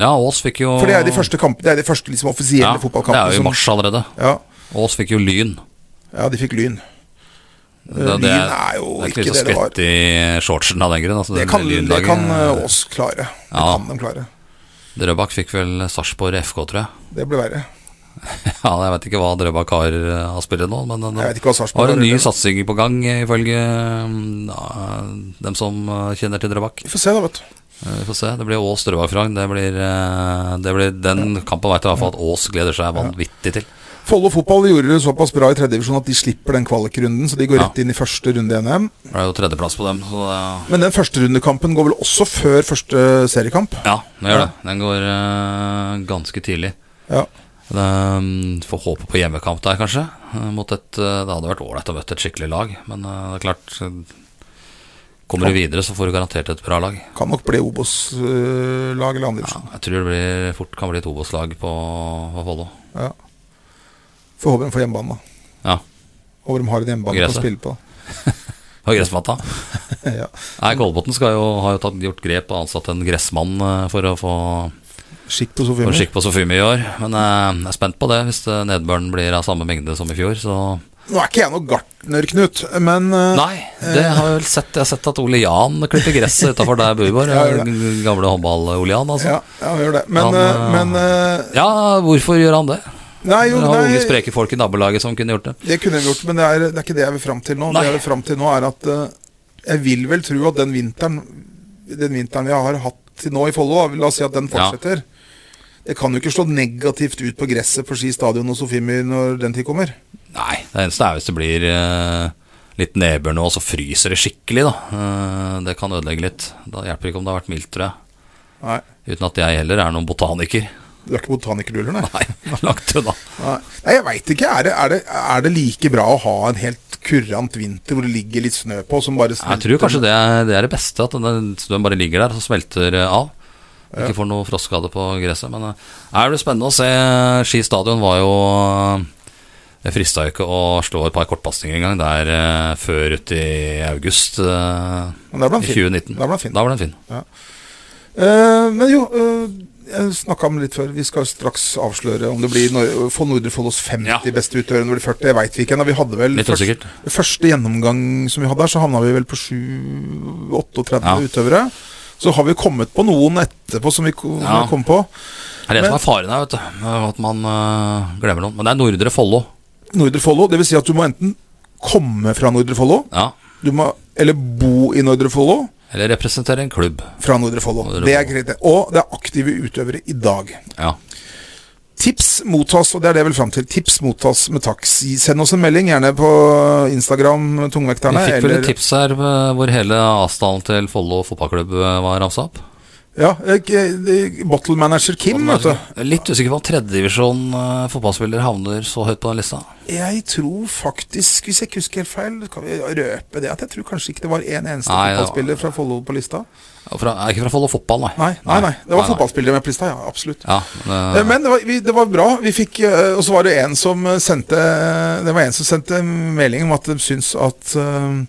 Speaker 1: Ja, Ås fikk jo
Speaker 2: For det er de første, kamp, det er de første liksom, offisielle
Speaker 1: ja, Det
Speaker 2: fotballkampene.
Speaker 1: er jo i
Speaker 2: som-
Speaker 1: mars allerede.
Speaker 2: Ja,
Speaker 1: Ås fikk jo Lyn.
Speaker 2: ja, de fikk Lyn.
Speaker 1: Det,
Speaker 2: Eh, Lyn er jo ikke
Speaker 1: vits å
Speaker 2: det det var.
Speaker 1: skvette i shortsen av den grunn. Altså,
Speaker 2: Det
Speaker 1: den
Speaker 2: kan, det
Speaker 1: lyndagen-
Speaker 2: kan eh, oss klare. Det
Speaker 1: Ja.
Speaker 2: kan de klare.
Speaker 1: Drøbak fikk vel Sarpsborg FK, tror jeg.
Speaker 2: Det blir verre.
Speaker 1: Ja, jeg vet ikke hva Drøbak har eh, av spillet nå, men
Speaker 2: Jeg
Speaker 1: det
Speaker 2: vet ikke hva Sarpsborg
Speaker 1: var en
Speaker 2: har
Speaker 1: ny
Speaker 2: gjort.
Speaker 1: satsing på gang, eh, ifølge mm, ja, dem som eh, kjenner til Drøbak.
Speaker 2: Vi får se, da, vet du.
Speaker 1: Eh, Vi får se. Det blir Ås Drøbak-Frogn. Det blir, eh, det blir den kampen veit jeg i hvert fall at Ås gleder seg vanvittig til.
Speaker 2: Follo fotball gjorde det såpass bra i tredje divisjon at de slipper den kvalikrunden, så de går
Speaker 1: Ja.
Speaker 2: rett inn i første runde i NM.
Speaker 1: Det er jo tredjeplass på dem, så det-
Speaker 2: Men den første rundekampen går vel også før første seriekamp?
Speaker 1: ja, det gjør det. Den går eh, ganske tidlig.
Speaker 2: Ja.
Speaker 1: Det, mm, Får håpe på hjemmekamp der, kanskje. eh, Mot et, eh, det hadde vært ålreit å møte et skikkelig lag, men eh, det er klart eh, Kommer du videre, så får du garantert et bra lag.
Speaker 2: Kan nok bli Obos-lag eller andre
Speaker 1: Ja,
Speaker 2: divisjon.
Speaker 1: jeg tror det blir, fort kan bli et Obos-lag på, på Follo.
Speaker 2: Ja. Får håpe de får hjemmebane, da.
Speaker 1: Ja.
Speaker 2: Håper de har en hjemmebane å
Speaker 1: Gresset.
Speaker 2: spille på.
Speaker 1: Og gressmatta.
Speaker 2: ja.
Speaker 1: Nei, Kolbotn skal jo, har jo tatt, gjort grep og ansatt en gressmann eh, for å få
Speaker 2: Skikk på
Speaker 1: få
Speaker 2: Sofiemyr.
Speaker 1: skikk på Sofiemi i år. Men eh, jeg er spent på det, hvis eh, nedbøren blir av samme mengde som i fjor. Så
Speaker 2: Nå er ikke jeg noe gartner, Knut, men eh,
Speaker 1: Nei, det har jeg vel sett. Jeg har sett at Ole Jan klipper gresset utafor der jeg bor. vår,
Speaker 2: Ja, gjør det.
Speaker 1: den Gamle håndball-Ole Jan, altså.
Speaker 2: ja, ja, vi gjør det. Men, eh,
Speaker 1: Han,
Speaker 2: men eh,
Speaker 1: Ja, hvorfor gjør han det?
Speaker 2: Nei,
Speaker 1: Det
Speaker 2: jo,
Speaker 1: har unge
Speaker 2: nei,
Speaker 1: spreke folk i nabolaget som kunne gjort det.
Speaker 2: det kunne vi gjort, men det er, det er ikke det jeg vil fram til nå.
Speaker 1: Nei.
Speaker 2: Det jeg vil fram til nå, er at eh, jeg vil vel tro at den vinteren Den vinteren vi har hatt til nå i Follo, da, la oss si at den
Speaker 1: Ja.
Speaker 2: fortsetter. Det kan jo ikke slå negativt ut på gresset på Ski stadion og Sofiemyr når den tid kommer.
Speaker 1: Nei, det eneste er hvis det blir eh, litt nedbør nå, og så fryser det skikkelig, da. Eh, det kan ødelegge litt. Da hjelper det ikke om det har vært mildt, tror jeg.
Speaker 2: Nei.
Speaker 1: Uten at jeg heller er noen botaniker.
Speaker 2: Du er ikke botaniker, du heller, nei?
Speaker 1: Nei, langt unna.
Speaker 2: Nei, Nei, jeg veit ikke. Er det, er, det, er det like bra å ha en helt kurant vinter hvor det ligger litt snø på, som bare
Speaker 1: Jeg tror kanskje det er det, er det beste, at den, den bare ligger der og så smelter eh, av. Ikke får noe frostskade på gresset. Men eh, nei, det blir spennende å se. eh, Ski stadion var jo Det frista jo ikke å slå et par kortpasninger engang der eh, før uti august eh,
Speaker 2: Men der ble han
Speaker 1: i
Speaker 2: fin.
Speaker 1: 2019.
Speaker 2: Der ble han fin.
Speaker 1: Da var den fin.
Speaker 2: Eh, men jo, eh, jeg snakka om det litt før. Vi skal straks avsløre om det blir Nor for Nordre Follos 50
Speaker 1: Ja.
Speaker 2: beste utøvere når det blir 40. Det veit vi ikke ennå. Vi hadde vel
Speaker 1: Litt usikkert.
Speaker 2: første gjennomgang som vi hadde her, så havna vi vel på 7 38
Speaker 1: Ja.
Speaker 2: utøvere. Så har vi kommet på noen etterpå som vi ko-
Speaker 1: Ja.
Speaker 2: kom på.
Speaker 1: Det er det som er faren her, vet du. med At man øh, glemmer noen. Men det er Nordre Follo.
Speaker 2: Nordre Follo. Det vil si at du må enten komme fra Nordre Follo,
Speaker 1: Ja.
Speaker 2: du må- eller bo i Nordre Follo
Speaker 1: Eller representerer en klubb.
Speaker 2: fra Nordre Follo.
Speaker 1: Nordre
Speaker 2: Det er
Speaker 1: Follo.
Speaker 2: greit. det. Og det er aktive utøvere i dag.
Speaker 1: Ja.
Speaker 2: Tips mottas, og det er det jeg vil fram til. Tips mottas med taks. Send oss en melding, gjerne på Instagram,
Speaker 1: Vi
Speaker 2: Tungvekterne.
Speaker 1: fikk vel et tips her øh, hvor hele avstanden til Follo fotballklubb øh, var ramsa opp.
Speaker 2: Ja, eh, Bottle Manager Kim, vet du.
Speaker 1: Jeg er Litt usikker på om tredjedivisjon øh, fotballspiller havner så høyt på den lista.
Speaker 2: Jeg tror faktisk, hvis jeg ikke husker helt feil, kan vi røpe det at jeg tror kanskje ikke det var en eneste
Speaker 1: Nei, det var-
Speaker 2: fotballspiller fra Follo på lista.
Speaker 1: Og Fra, er ikke fra Follo fotball, nei.
Speaker 2: Nei, nei, nei. Det var fotballspillere med på lista, ja. Absolutt.
Speaker 1: Ja, men,
Speaker 2: Eh,
Speaker 1: øh,
Speaker 2: Men det var, vi, det var bra. Vi fikk, eh, og så var det en som eh, sendte Det var en som sendte melding om at de syns at eh,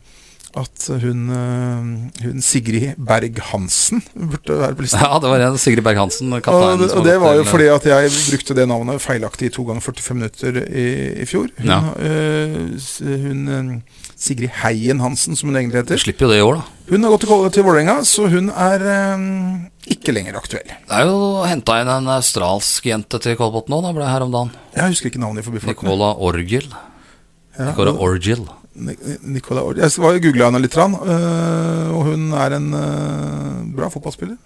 Speaker 2: at hun, eh, hun Sigrid Berg-Hansen burde være på listen.
Speaker 1: Ja, det var en Sigrid Berg-Hansen,
Speaker 2: Og,
Speaker 1: kapteinen.
Speaker 2: det- og det var jo fordi at jeg brukte det navnet feilaktig i to ganger 45 minutter i, i fjor. Hun,
Speaker 1: Ja.
Speaker 2: eh, s- hun eh, Sigrid Heien Hansen, som hun egentlig
Speaker 1: Du
Speaker 2: heter.
Speaker 1: slipper jo det i år, da.
Speaker 2: Hun har gått til, Kål- til Vålerenga, så hun er eh, ikke lenger aktuell.
Speaker 1: Det er jo henta inn en australsk jente til Kolbotn nå, da ble det her om dagen.
Speaker 2: Jeg husker ikke navnet i forbifarten.
Speaker 1: Nicola Orgil.
Speaker 2: Ja,
Speaker 1: Nicola Orgil.
Speaker 2: Ni- Nicola Ord. Jeg var googla henne litt, rann, eh, og hun er en eh, bra fotballspiller.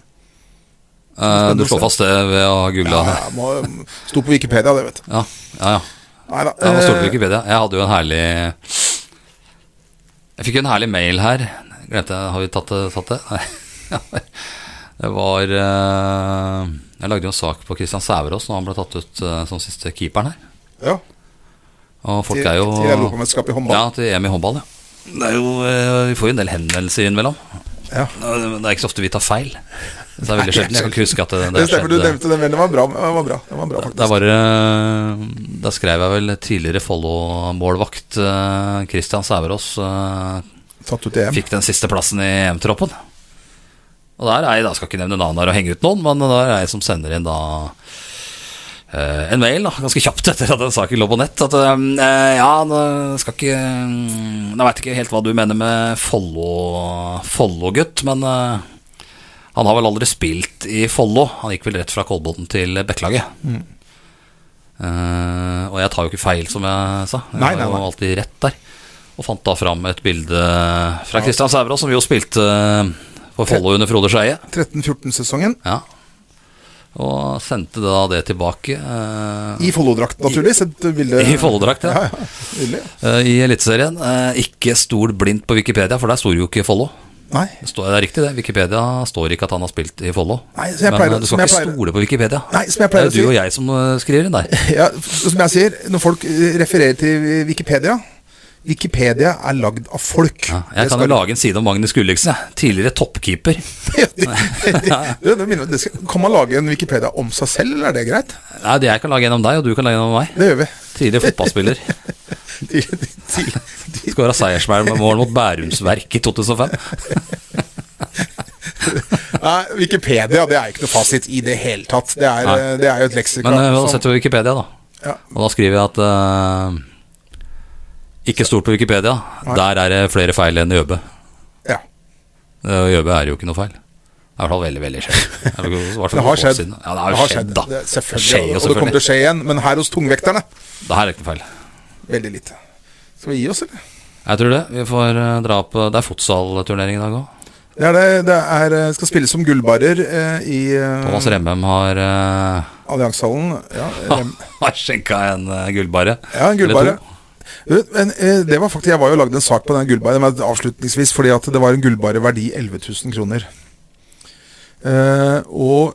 Speaker 1: Eh, du
Speaker 2: å se.
Speaker 1: slår fast det ved å ha googla det?
Speaker 2: Ja, må, sto på Wikipedia, det, vet du.
Speaker 1: Ja, ja. ja.
Speaker 2: Neida,
Speaker 1: Ja, nå står det
Speaker 2: eh,
Speaker 1: på Wikipedia. Jeg hadde jo en herlig Jeg fikk jo en herlig mail her. Glemte jeg Har vi tatt det? Tatt det? Nei. Det var eh, Jeg lagde jo en sak på Christian Sæverås når han ble tatt ut eh, som siste keeperen her.
Speaker 2: ja,
Speaker 1: Og folk
Speaker 2: til,
Speaker 1: er jo
Speaker 2: til Europamesterskapet i håndball.
Speaker 1: Ja, til EM i håndball, ja. Det er jo, eh, vi får jo en del henvendelser innimellom.
Speaker 2: Ja.
Speaker 1: Det er ikke så ofte vi tar feil. Så det er veldig sjelden. Jeg kan ikke huske at det, eh.
Speaker 2: Det stemmer, du
Speaker 1: skjedde.
Speaker 2: nevnte den, men den var bra. Den var bra, den var bra faktisk.
Speaker 1: Der, var, det- der skrev jeg vel tidligere Follo-målvakt eh, Christian Sæverås eh,
Speaker 2: Tatt ut i EM.
Speaker 1: fikk den siste plassen i EM-troppen. Og der er jeg, da skal jeg ikke nevne navn her og henge ut noen, men der er jeg som sender inn da eh, en mail da, ganske kjapt etter at den saken lå på nett. At eh, ja, det skal ikke mm, Jeg veit ikke helt hva du mener med Follo- Follo-gutt, men eh, han har vel aldri spilt i Follo. Han gikk vel rett fra Kolbotn til Bekkelaget.
Speaker 2: Mm.
Speaker 1: Eh, og jeg tar jo ikke feil, som jeg sa. Jeg
Speaker 2: Nei,
Speaker 1: har
Speaker 2: nei,
Speaker 1: jo
Speaker 2: nei.
Speaker 1: alltid rett der. Og fant da fram et bilde fra Christian Sæverås, som jo spilte eh, for Follo under Frode Skeie.
Speaker 2: 13-14-sesongen.
Speaker 1: Ja. Og sendte da det tilbake eh,
Speaker 2: I Follo-drakt, naturligvis. Et bilde
Speaker 1: I Follo-drakt, ja.
Speaker 2: Eh, ja. ja, Nydelig.
Speaker 1: eh, i Eliteserien. Eh, ikke stol blindt på Wikipedia, for der står jo ikke Follo.
Speaker 2: Nei.
Speaker 1: Det, står, det er riktig, det. Wikipedia står ikke at han har spilt i Follo.
Speaker 2: Nei,
Speaker 1: Men
Speaker 2: så jeg pleier-
Speaker 1: eh, du skal
Speaker 2: som jeg
Speaker 1: ikke
Speaker 2: pleier-
Speaker 1: stole på Wikipedia.
Speaker 2: Nei, som jeg
Speaker 1: det
Speaker 2: pleier
Speaker 1: er
Speaker 2: å
Speaker 1: jo du
Speaker 2: si-
Speaker 1: og jeg som eh, skriver inn der.
Speaker 2: Ja, som jeg sier, når folk eh, refererer til Wikipedia Wikipedia er lagd av folk.
Speaker 1: Ja, jeg
Speaker 2: Det
Speaker 1: kan jo
Speaker 2: skal-
Speaker 1: lage en side om Magnus Gulliksen, jeg. Tidligere toppkeeper.
Speaker 2: Ja, det- det- det- det minner meg- det skal- Kan man lage en Wikipedia om seg selv, eller er det greit?
Speaker 1: Nei, det jeg kan lage en om deg, og du kan lage en om meg.
Speaker 2: Det gjør vi.
Speaker 1: Tidligere fotballspiller.
Speaker 2: De, de, de, de,
Speaker 1: Skåra seiersmål mot Bærumsverk i 2005.
Speaker 2: nei, Wikipedia det er ikke noe fasit i det hele tatt. Det er,
Speaker 1: Nei.
Speaker 2: eh, det er jo et leksikon.
Speaker 1: Men uh,
Speaker 2: som-
Speaker 1: sett på Wikipedia, da.
Speaker 2: Ja.
Speaker 1: Og da skriver jeg at eh, Ikke stort på Wikipedia. Der er det flere feil enn i Jøbe.
Speaker 2: ja.
Speaker 1: Eh, Jøbe er jo ikke noe feil. Det er i hvert fall veldig, veldig sjelden. Det er i hvert fall
Speaker 2: Det har
Speaker 1: noen år
Speaker 2: skjedd.
Speaker 1: siden. Ja, det har jo skjedd, da.
Speaker 2: Det, selvfølgelig,
Speaker 1: skjer jo
Speaker 2: og det kommer til
Speaker 1: selvfølgelig.
Speaker 2: å skje igjen. Men her hos tungvekterne,
Speaker 1: Det her er ikke noe feil.
Speaker 2: veldig lite. Skal vi gi oss, eller?
Speaker 1: Jeg tror det. Vi får eh, dra på Det er futsalturnering i dag òg.
Speaker 2: Det, er det, det er, eh, skal spilles som gullbarer eh, i eh,
Speaker 1: Thomas Remmem har eh,
Speaker 2: Alliansehallen. Ja, rem,
Speaker 1: har skjenka en eh, gullbarre.
Speaker 2: ja, en
Speaker 1: Eller
Speaker 2: gullbare.
Speaker 1: to.
Speaker 2: Vet, Men eh, det var faktisk, Jeg var jo lagd en sak på den gullbaren men avslutningsvis fordi at det var en gullbare verdi 11 000 kroner. Eh, og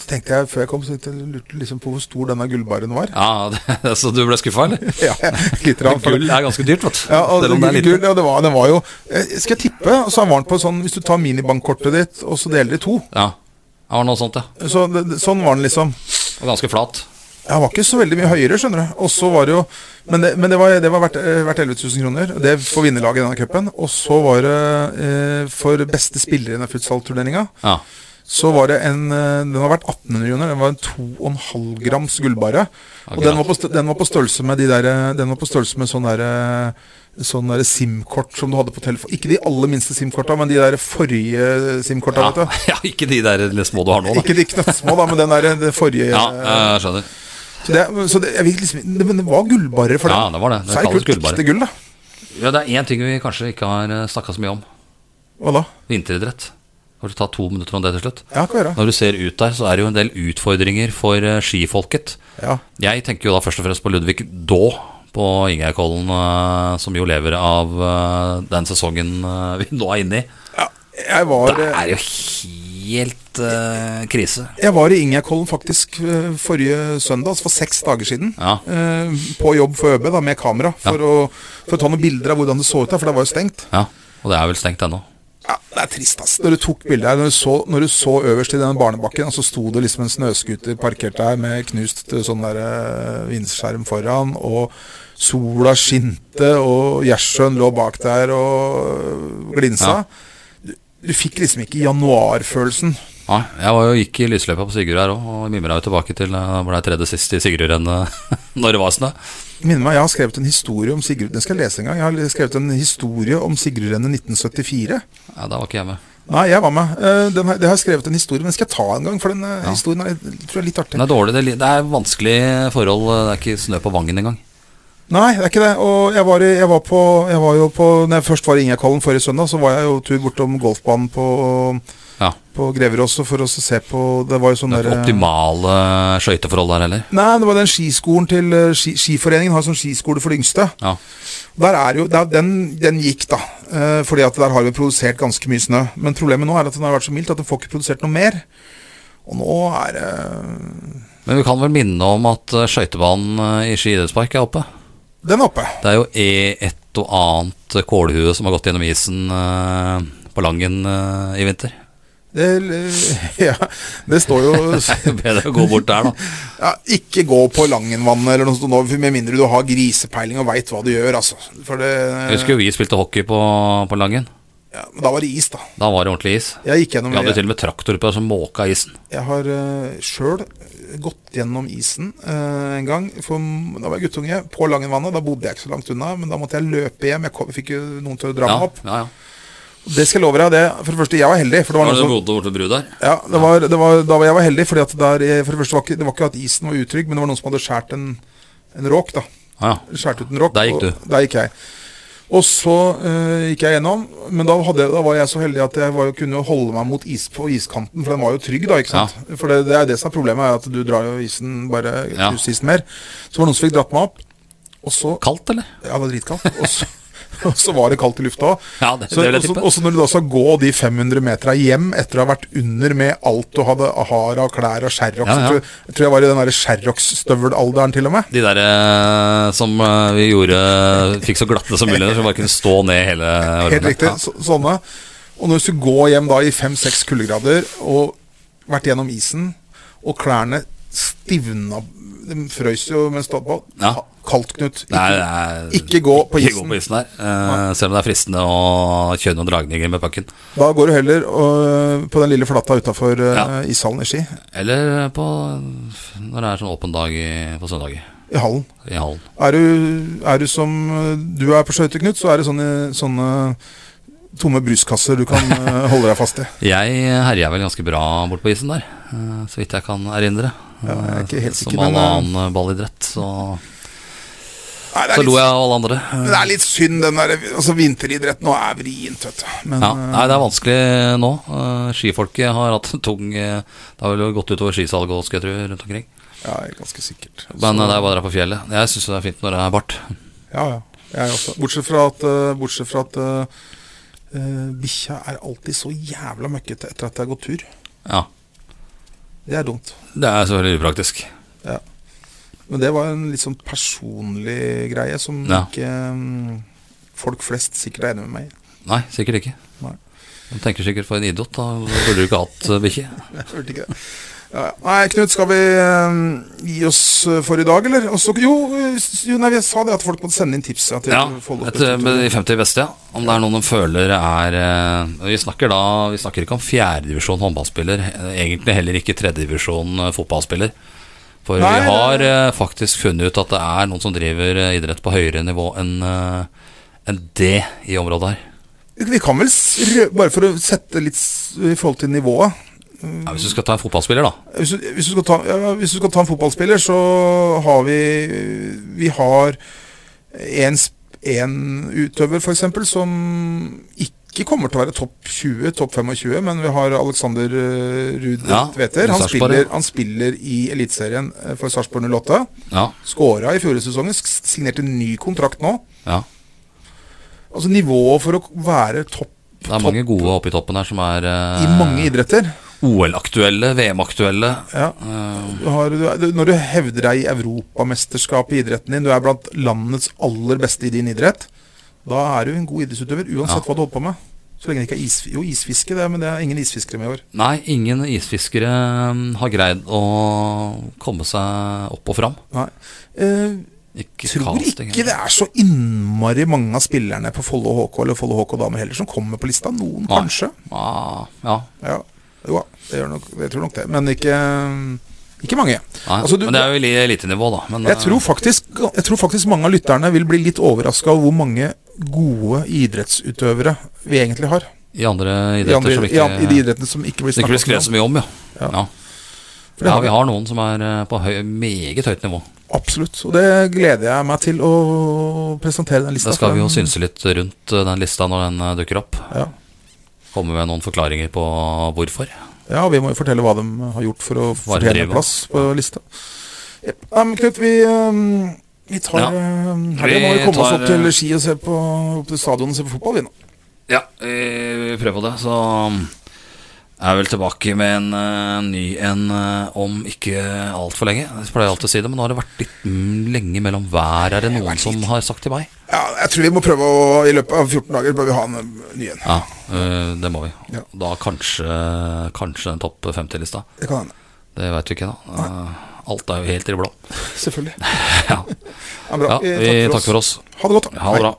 Speaker 2: så tenkte jeg før jeg kom, så tenkte jeg- lurte jeg liksom på hvor stor denne gullbaren var.
Speaker 1: Ja, det, Så du ble skuffa, eller?
Speaker 2: Ja, litt rann, for-
Speaker 1: Gull er ganske dyrt, vet du.
Speaker 2: Ja, og
Speaker 1: Selv om det er lite.
Speaker 2: gull, ja, det var, den var jo eh, Skal jeg tippe, så var den på sånn Hvis du tar minibankkortet ditt, og så deler det i to
Speaker 1: Ja. Det var noe sånt, ja.
Speaker 2: så, det, det- Sånn var den liksom
Speaker 1: Og ganske flat.
Speaker 2: Ja, den var ikke så veldig mye høyere, skjønner du Og så var det jo Men det, men det var, det var verdt, eh, verdt 11 000 kroner Det får vinnerlaget i denne køppen Og så var det eh, For beste spillere i denne futsalturneringen
Speaker 1: Ja.
Speaker 2: Så var det en eh, Den har vært 1800 kroner Den var en 2,5 grams gullbare Og den var, på, stø- den var på størrelse med de der eh, Den var på størrelse med sånn der eh, Sånn der SIM-kort som du hadde på telefon Ikke de aller minste SIM-korta Men de der forrige SIM-korta,
Speaker 1: Ja.
Speaker 2: vet du
Speaker 1: ja, ikke de der lille små du har nå, da.
Speaker 2: ikke de knøttsmå, da, men den der det forrige
Speaker 1: Ja,
Speaker 2: eh,
Speaker 1: jeg skjønner.
Speaker 2: så det, så det, jeg vet liksom, det, men det var gullbarrer for
Speaker 1: Ja, det var det. Det
Speaker 2: så er det
Speaker 1: kalles
Speaker 2: kult
Speaker 1: gullbarrer.
Speaker 2: ekte gull, da.
Speaker 1: Ja, det er én ting vi kanskje ikke har snakka så mye om.
Speaker 2: Hva da?
Speaker 1: Vinteridrett. Får du ta to minutter om det til slutt?
Speaker 2: Ja, hva gjør jeg?
Speaker 1: Når du ser ut der, så er det jo en del utfordringer for eh, skifolket.
Speaker 2: Ja.
Speaker 1: Jeg tenker jo da først og fremst på Ludvig Daa på Ingjerdkollen, eh, som jo lever av eh, den sesongen eh, vi nå er inne i.
Speaker 2: ja. Jeg var, eh,
Speaker 1: Det er jo helt eh, krise.
Speaker 2: jeg var i Ingjerdkollen faktisk eh, forrige søndag, altså for seks dager siden.
Speaker 1: Ja.
Speaker 2: eh, På jobb for ØB, da, med kamera, for, å, for å ta noen bilder av hvordan det så ut der, for det var jo stengt.
Speaker 1: Ja, og det er vel stengt ennå.
Speaker 2: Ja, Ja, det er trist, ass. Når du tok bildet her, når du så, når du så øverst i den barnebakken, og så sto det liksom en snøskuter parkert der med knust eh, sånn der eh, vindskjerm foran, og sola skinte, og Gjersjøen lå bak der og eh, glinsa.
Speaker 1: Ja.
Speaker 2: Du, du fikk liksom ikke januarfølelsen.
Speaker 1: Nei, jeg var jo gikk i lysløypa på Sigurd her òg, og mimra jo tilbake til eh, det ble tredje sist i Sigurdrennet når det var snø.
Speaker 2: Minner meg, jeg har skrevet en historie om Sigrud Den skal jeg lese en gang. Jeg har skrevet en historie om Sigrudrennet 1974.
Speaker 1: Ja, da var ikke jeg med.
Speaker 2: Nei, jeg var med. Eh, Den har, det har jeg skrevet en historie, men den skal jeg ta en gang, for den eh, historien er, tror jeg er litt artig.
Speaker 1: Men det er dårlig, det er li- det er vanskelig forhold, eh, det er ikke snø på vangen engang.
Speaker 2: Nei, det er ikke det. Og jeg var, i, jeg var, på, jeg var jo på Når jeg først var i Ingjerdkollen forrige søndag, så var jeg jo tur bortom golfbanen på,
Speaker 1: Ja,
Speaker 2: på Greverås for å se på Det var jo sånn
Speaker 1: det er
Speaker 2: der
Speaker 1: ikke optimale skøyteforhold der heller.
Speaker 2: Nei, det var den skiskolen til eh, ski, Skiforeningen har sånn skiskole for de yngste.
Speaker 1: Ja,
Speaker 2: Der er jo, der, den, den gikk, da. Eh, fordi at der har vi produsert ganske mye snø. Men problemet nå er at den har vært så mildt at den får ikke produsert noe mer. Og nå er eh, det
Speaker 1: Men vi kan vel minne om at eh, skøytebanen eh, i Ski idrettspark er oppe.
Speaker 2: Den er oppe.
Speaker 1: Det er jo e- et og annet eh, kålhue som har gått gjennom isen eh, på Langen eh, i vinter.
Speaker 2: Det, eh, ja, det står jo
Speaker 1: Det er jo bedre å gå bort der, da.
Speaker 2: Ja, ikke gå på Langenvannet eller noe sånt, nå, med mindre du har grisepeiling og veit hva du gjør, altså. For det,
Speaker 1: Jeg husker jo vi spilte hockey på, på Langen.
Speaker 2: ja, men da var det is, da.
Speaker 1: Da var det ordentlig is.
Speaker 2: Jeg gikk gjennom
Speaker 1: Vi hadde
Speaker 2: jeg,
Speaker 1: til og med traktor på som måka isen.
Speaker 2: jeg har uh, sjøl gått gjennom isen eh, en gang. For m- da var jeg guttunge på Langenvannet. Da bodde jeg ikke så langt unna, men da måtte jeg løpe hjem. Jeg kom, fikk jo noen til å dra
Speaker 1: Ja,
Speaker 2: meg opp.
Speaker 1: ja, ja.
Speaker 2: Det skal jeg love deg. Det, for det første, jeg var heldig. For det sånn-
Speaker 1: Var
Speaker 2: var noen
Speaker 1: det
Speaker 2: som
Speaker 1: bodde borte ved bru der?
Speaker 2: Ja, det var, det var, da var jeg var heldig, fordi at der, eh, for det første var ikke, det var ikke at isen var utrygg, men det var noen som hadde skåret en, en råk, da.
Speaker 1: Ja,
Speaker 2: skåret ut en rock.
Speaker 1: Der gikk du.
Speaker 2: Og, der gikk jeg. Og så eh, gikk jeg gjennom, men da, hadde, jeg- da var jeg så heldig at jeg var, jo- kunne jo holde meg mot is på iskanten, for den var jo trygg, da. ikke sant? For det, det er det som er problemet, er at du drar jo isen bare
Speaker 1: Ja.
Speaker 2: knuser isen mer. Så var det noen som fikk dratt meg opp, og så
Speaker 1: Kaldt, eller?
Speaker 2: Ja, det var dritkaldt. Og så, og så var det kaldt i lufta òg.
Speaker 1: Ja, det- det
Speaker 2: Så-
Speaker 1: vil jeg
Speaker 2: og så-
Speaker 1: tippe.
Speaker 2: Og så når du da skal gå de 500 metera hjem etter å ha vært under med alt du hadde av hår og klær og Sherrox
Speaker 1: Ja, ja.
Speaker 2: Jeg, tror, jeg tror jeg var i den derre Sherrox-støvelalderen til og med.
Speaker 1: De der eh, som eh, vi gjorde fikk så glatte som mulig, som bare kunne stå ned hele
Speaker 2: Helt
Speaker 1: armene.
Speaker 2: riktig. Så, sånne. Og når du skulle gå hjem da i fem-seks kuldegrader og vært gjennom isen, og klærne stivna De frøys jo mens du hadde på.
Speaker 1: Ja.
Speaker 2: Ha- Kaldt, Knut. Ikke,
Speaker 1: Nei, det er-
Speaker 2: ikke gå på
Speaker 1: Ikke
Speaker 2: isen.
Speaker 1: gå på isen der, eh, selv om det er fristende å kjøre noen dragninger med pucken.
Speaker 2: Da går du heller øh, på den lille flata utafor øh,
Speaker 1: Ja.
Speaker 2: ishallen i Ski.
Speaker 1: Eller på når det er sånn åpen dag i, på søndager
Speaker 2: I hallen.
Speaker 1: i hallen.
Speaker 2: Er du, er du som øh, du er på skøyter, Knut, så er det sånne, sånne tomme bruskasser du kan øh, holde deg fast i.
Speaker 1: Jeg herja vel ganske bra bort på isen der, eh, så vidt jeg kan erindre.
Speaker 2: Ja, jeg er ikke helt
Speaker 1: Som
Speaker 2: sikker, men,
Speaker 1: all
Speaker 2: eh,
Speaker 1: annen ballidrett, så,
Speaker 2: Nei, det er
Speaker 1: så
Speaker 2: litt
Speaker 1: lo jeg av alle andre. eh.
Speaker 2: Men Det er litt synd, den der altså, vinteridretten nå er vrient, vet du. Men,
Speaker 1: Ja,
Speaker 2: eh,
Speaker 1: nei, det er vanskelig nå. Eh, Skifolket har hatt en tung eh, Det har vel gått utover skisalget også, skal jeg tro, rundt omkring.
Speaker 2: ja, jeg er ganske sikkert.
Speaker 1: Men eh, det er bare å dra på fjellet. Jeg syns det er fint når det er bart.
Speaker 2: Ja, ja. Jeg er også. Bortsett fra at, eh, bortsett fra at eh, eh, bikkja er alltid så jævla møkkete etter at jeg har gått tur.
Speaker 1: Ja.
Speaker 2: Det er dumt.
Speaker 1: Det er selvfølgelig upraktisk.
Speaker 2: Men det var en litt sånn personlig greie som
Speaker 1: Ja.
Speaker 2: ikke mm, folk flest sikkert er enig med meg i.
Speaker 1: Nei, sikkert ikke.
Speaker 2: Nei.
Speaker 1: De tenker sikkert for en idiot, da burde du ikke hatt eh, bikkje.
Speaker 2: Jeg hørte ikke det. Ja, ja. Nei, Knut, skal vi eh, gi oss eh, for i dag, eller? Og så- jo, eh, s- jo, nei, jeg sa det at folk måtte sende inn tips. Ja, til
Speaker 1: Ja,
Speaker 2: Follo
Speaker 1: et,
Speaker 2: Spesielt.
Speaker 1: med de 50 beste, ja. Om det er noen de føler er eh, Vi snakker da Vi snakker ikke om fjerdedivisjon håndballspiller, eh, egentlig heller ikke tredjedivisjon eh, fotballspiller. For
Speaker 2: Nei,
Speaker 1: vi har eh, faktisk funnet ut at det er noen som driver eh, idrett på høyere nivå enn eh, enn det i området her.
Speaker 2: Vi kan vel, s- rø- bare for å sette litt s- i forhold til nivået
Speaker 1: Ja, hvis du skal ta en fotballspiller, da.
Speaker 2: Hvis du, hvis du, skal, ta, ja, hvis du skal ta en fotballspiller, så har vi Vi har en, sp- en utøver, f.eks., som ikke kommer til å være topp 20, topp 25, men vi har Alexander eh, Ruud
Speaker 1: Ja,
Speaker 2: Tveter. Han,
Speaker 1: Sarpsborg,
Speaker 2: spiller-
Speaker 1: ja.
Speaker 2: han spiller i Eliteserien eh, for Sarpsborg 08.
Speaker 1: Ja,
Speaker 2: Skåra i fjorårets sesong, s- signerte ny kontrakt nå.
Speaker 1: ja.
Speaker 2: Altså nivået for å k- være topp
Speaker 1: Det er mange gode oppe i toppen her som er eh,
Speaker 2: i mange idretter
Speaker 1: OL-aktuelle, VM-aktuelle.
Speaker 2: Ja.
Speaker 1: eh,
Speaker 2: Du har, du, du- når du hevder deg i europamesterskapet i idretten din, du er blant landets aller beste i din idrett, da er du en god idrettsutøver, uansett
Speaker 1: Ja.
Speaker 2: hva du holder på med. Så lenge det ikke er isfiske. Jo, isfiske, det, men det er ingen isfiskere med i år.
Speaker 1: Nei, ingen isfiskere mm, har greid å komme seg opp og fram.
Speaker 2: Nei. Eh,
Speaker 1: Ikke
Speaker 2: tror
Speaker 1: casting,
Speaker 2: ikke det er så innmari mange av spillerne på Follo HK eller Follo HK damer heller som kommer på lista. Noen,
Speaker 1: Nei.
Speaker 2: kanskje.
Speaker 1: Ah, ja.
Speaker 2: Ja, jo, da, det gjør nok, jeg tror nok det. Men ikke, ikke mange.
Speaker 1: Nei,
Speaker 2: Altså, du-
Speaker 1: men det er jo i elitenivå, da. Men,
Speaker 2: Jeg
Speaker 1: eh,
Speaker 2: tror, faktisk, jeg tror faktisk mange av lytterne vil bli litt overraska over hvor mange gode idrettsutøvere vi egentlig har.
Speaker 1: eh, I andre
Speaker 2: I,
Speaker 1: idretter
Speaker 2: andre,
Speaker 1: som
Speaker 2: i,
Speaker 1: ikke,
Speaker 2: an- i de idrettene som ikke blir
Speaker 1: som ikke blir
Speaker 2: snakka
Speaker 1: skrevet så mye om, ja.
Speaker 2: Ja.
Speaker 1: ja.
Speaker 2: For det
Speaker 1: ja,
Speaker 2: har vi.
Speaker 1: vi har noen som er eh, på høy, meget høyt nivå.
Speaker 2: Absolutt. Og det gleder jeg meg til å presentere den lista.
Speaker 1: Da skal
Speaker 2: for
Speaker 1: vi jo
Speaker 2: den-
Speaker 1: synse litt rundt eh, den lista når den eh, dukker opp.
Speaker 2: Ja.
Speaker 1: Komme med noen forklaringer på hvorfor.
Speaker 2: ja, og vi må jo fortelle hva de har gjort for å
Speaker 1: Hva de
Speaker 2: fortjene
Speaker 1: driver med.
Speaker 2: plass på lista. Jep. Nei, men Knut, vi, ehm, vi tar
Speaker 1: Ja.
Speaker 2: ehm, her
Speaker 1: Vi
Speaker 2: må vi komme oss
Speaker 1: tar,
Speaker 2: opp til
Speaker 1: eh,
Speaker 2: Ski og se på, opp til stadion og se på fotball, vi nå.
Speaker 1: Ja, vi prøver på det. Så um, er jeg vel tilbake med en eh, ny en eh, om ikke altfor lenge. Jeg pleier alltid å si det, men nå har det vært litt mm, lenge mellom hver, er det noen som har sagt til meg.
Speaker 2: Ja, jeg tror vi må prøve å I løpet av 14 dager bør vi ha en eh, ny en.
Speaker 1: Ja, eh, det må vi.
Speaker 2: Ja.
Speaker 1: Da kanskje, kanskje den topp 50-lista.
Speaker 2: Det kan hende.
Speaker 1: Det veit vi ikke ennå. Eh, Alt er jo helt i det blå.
Speaker 2: Selvfølgelig.
Speaker 1: ja.
Speaker 2: Ja,
Speaker 1: ja,
Speaker 2: bra.
Speaker 1: vi takker eh, for oss.
Speaker 2: Ha det godt. da.
Speaker 1: Ha det bra.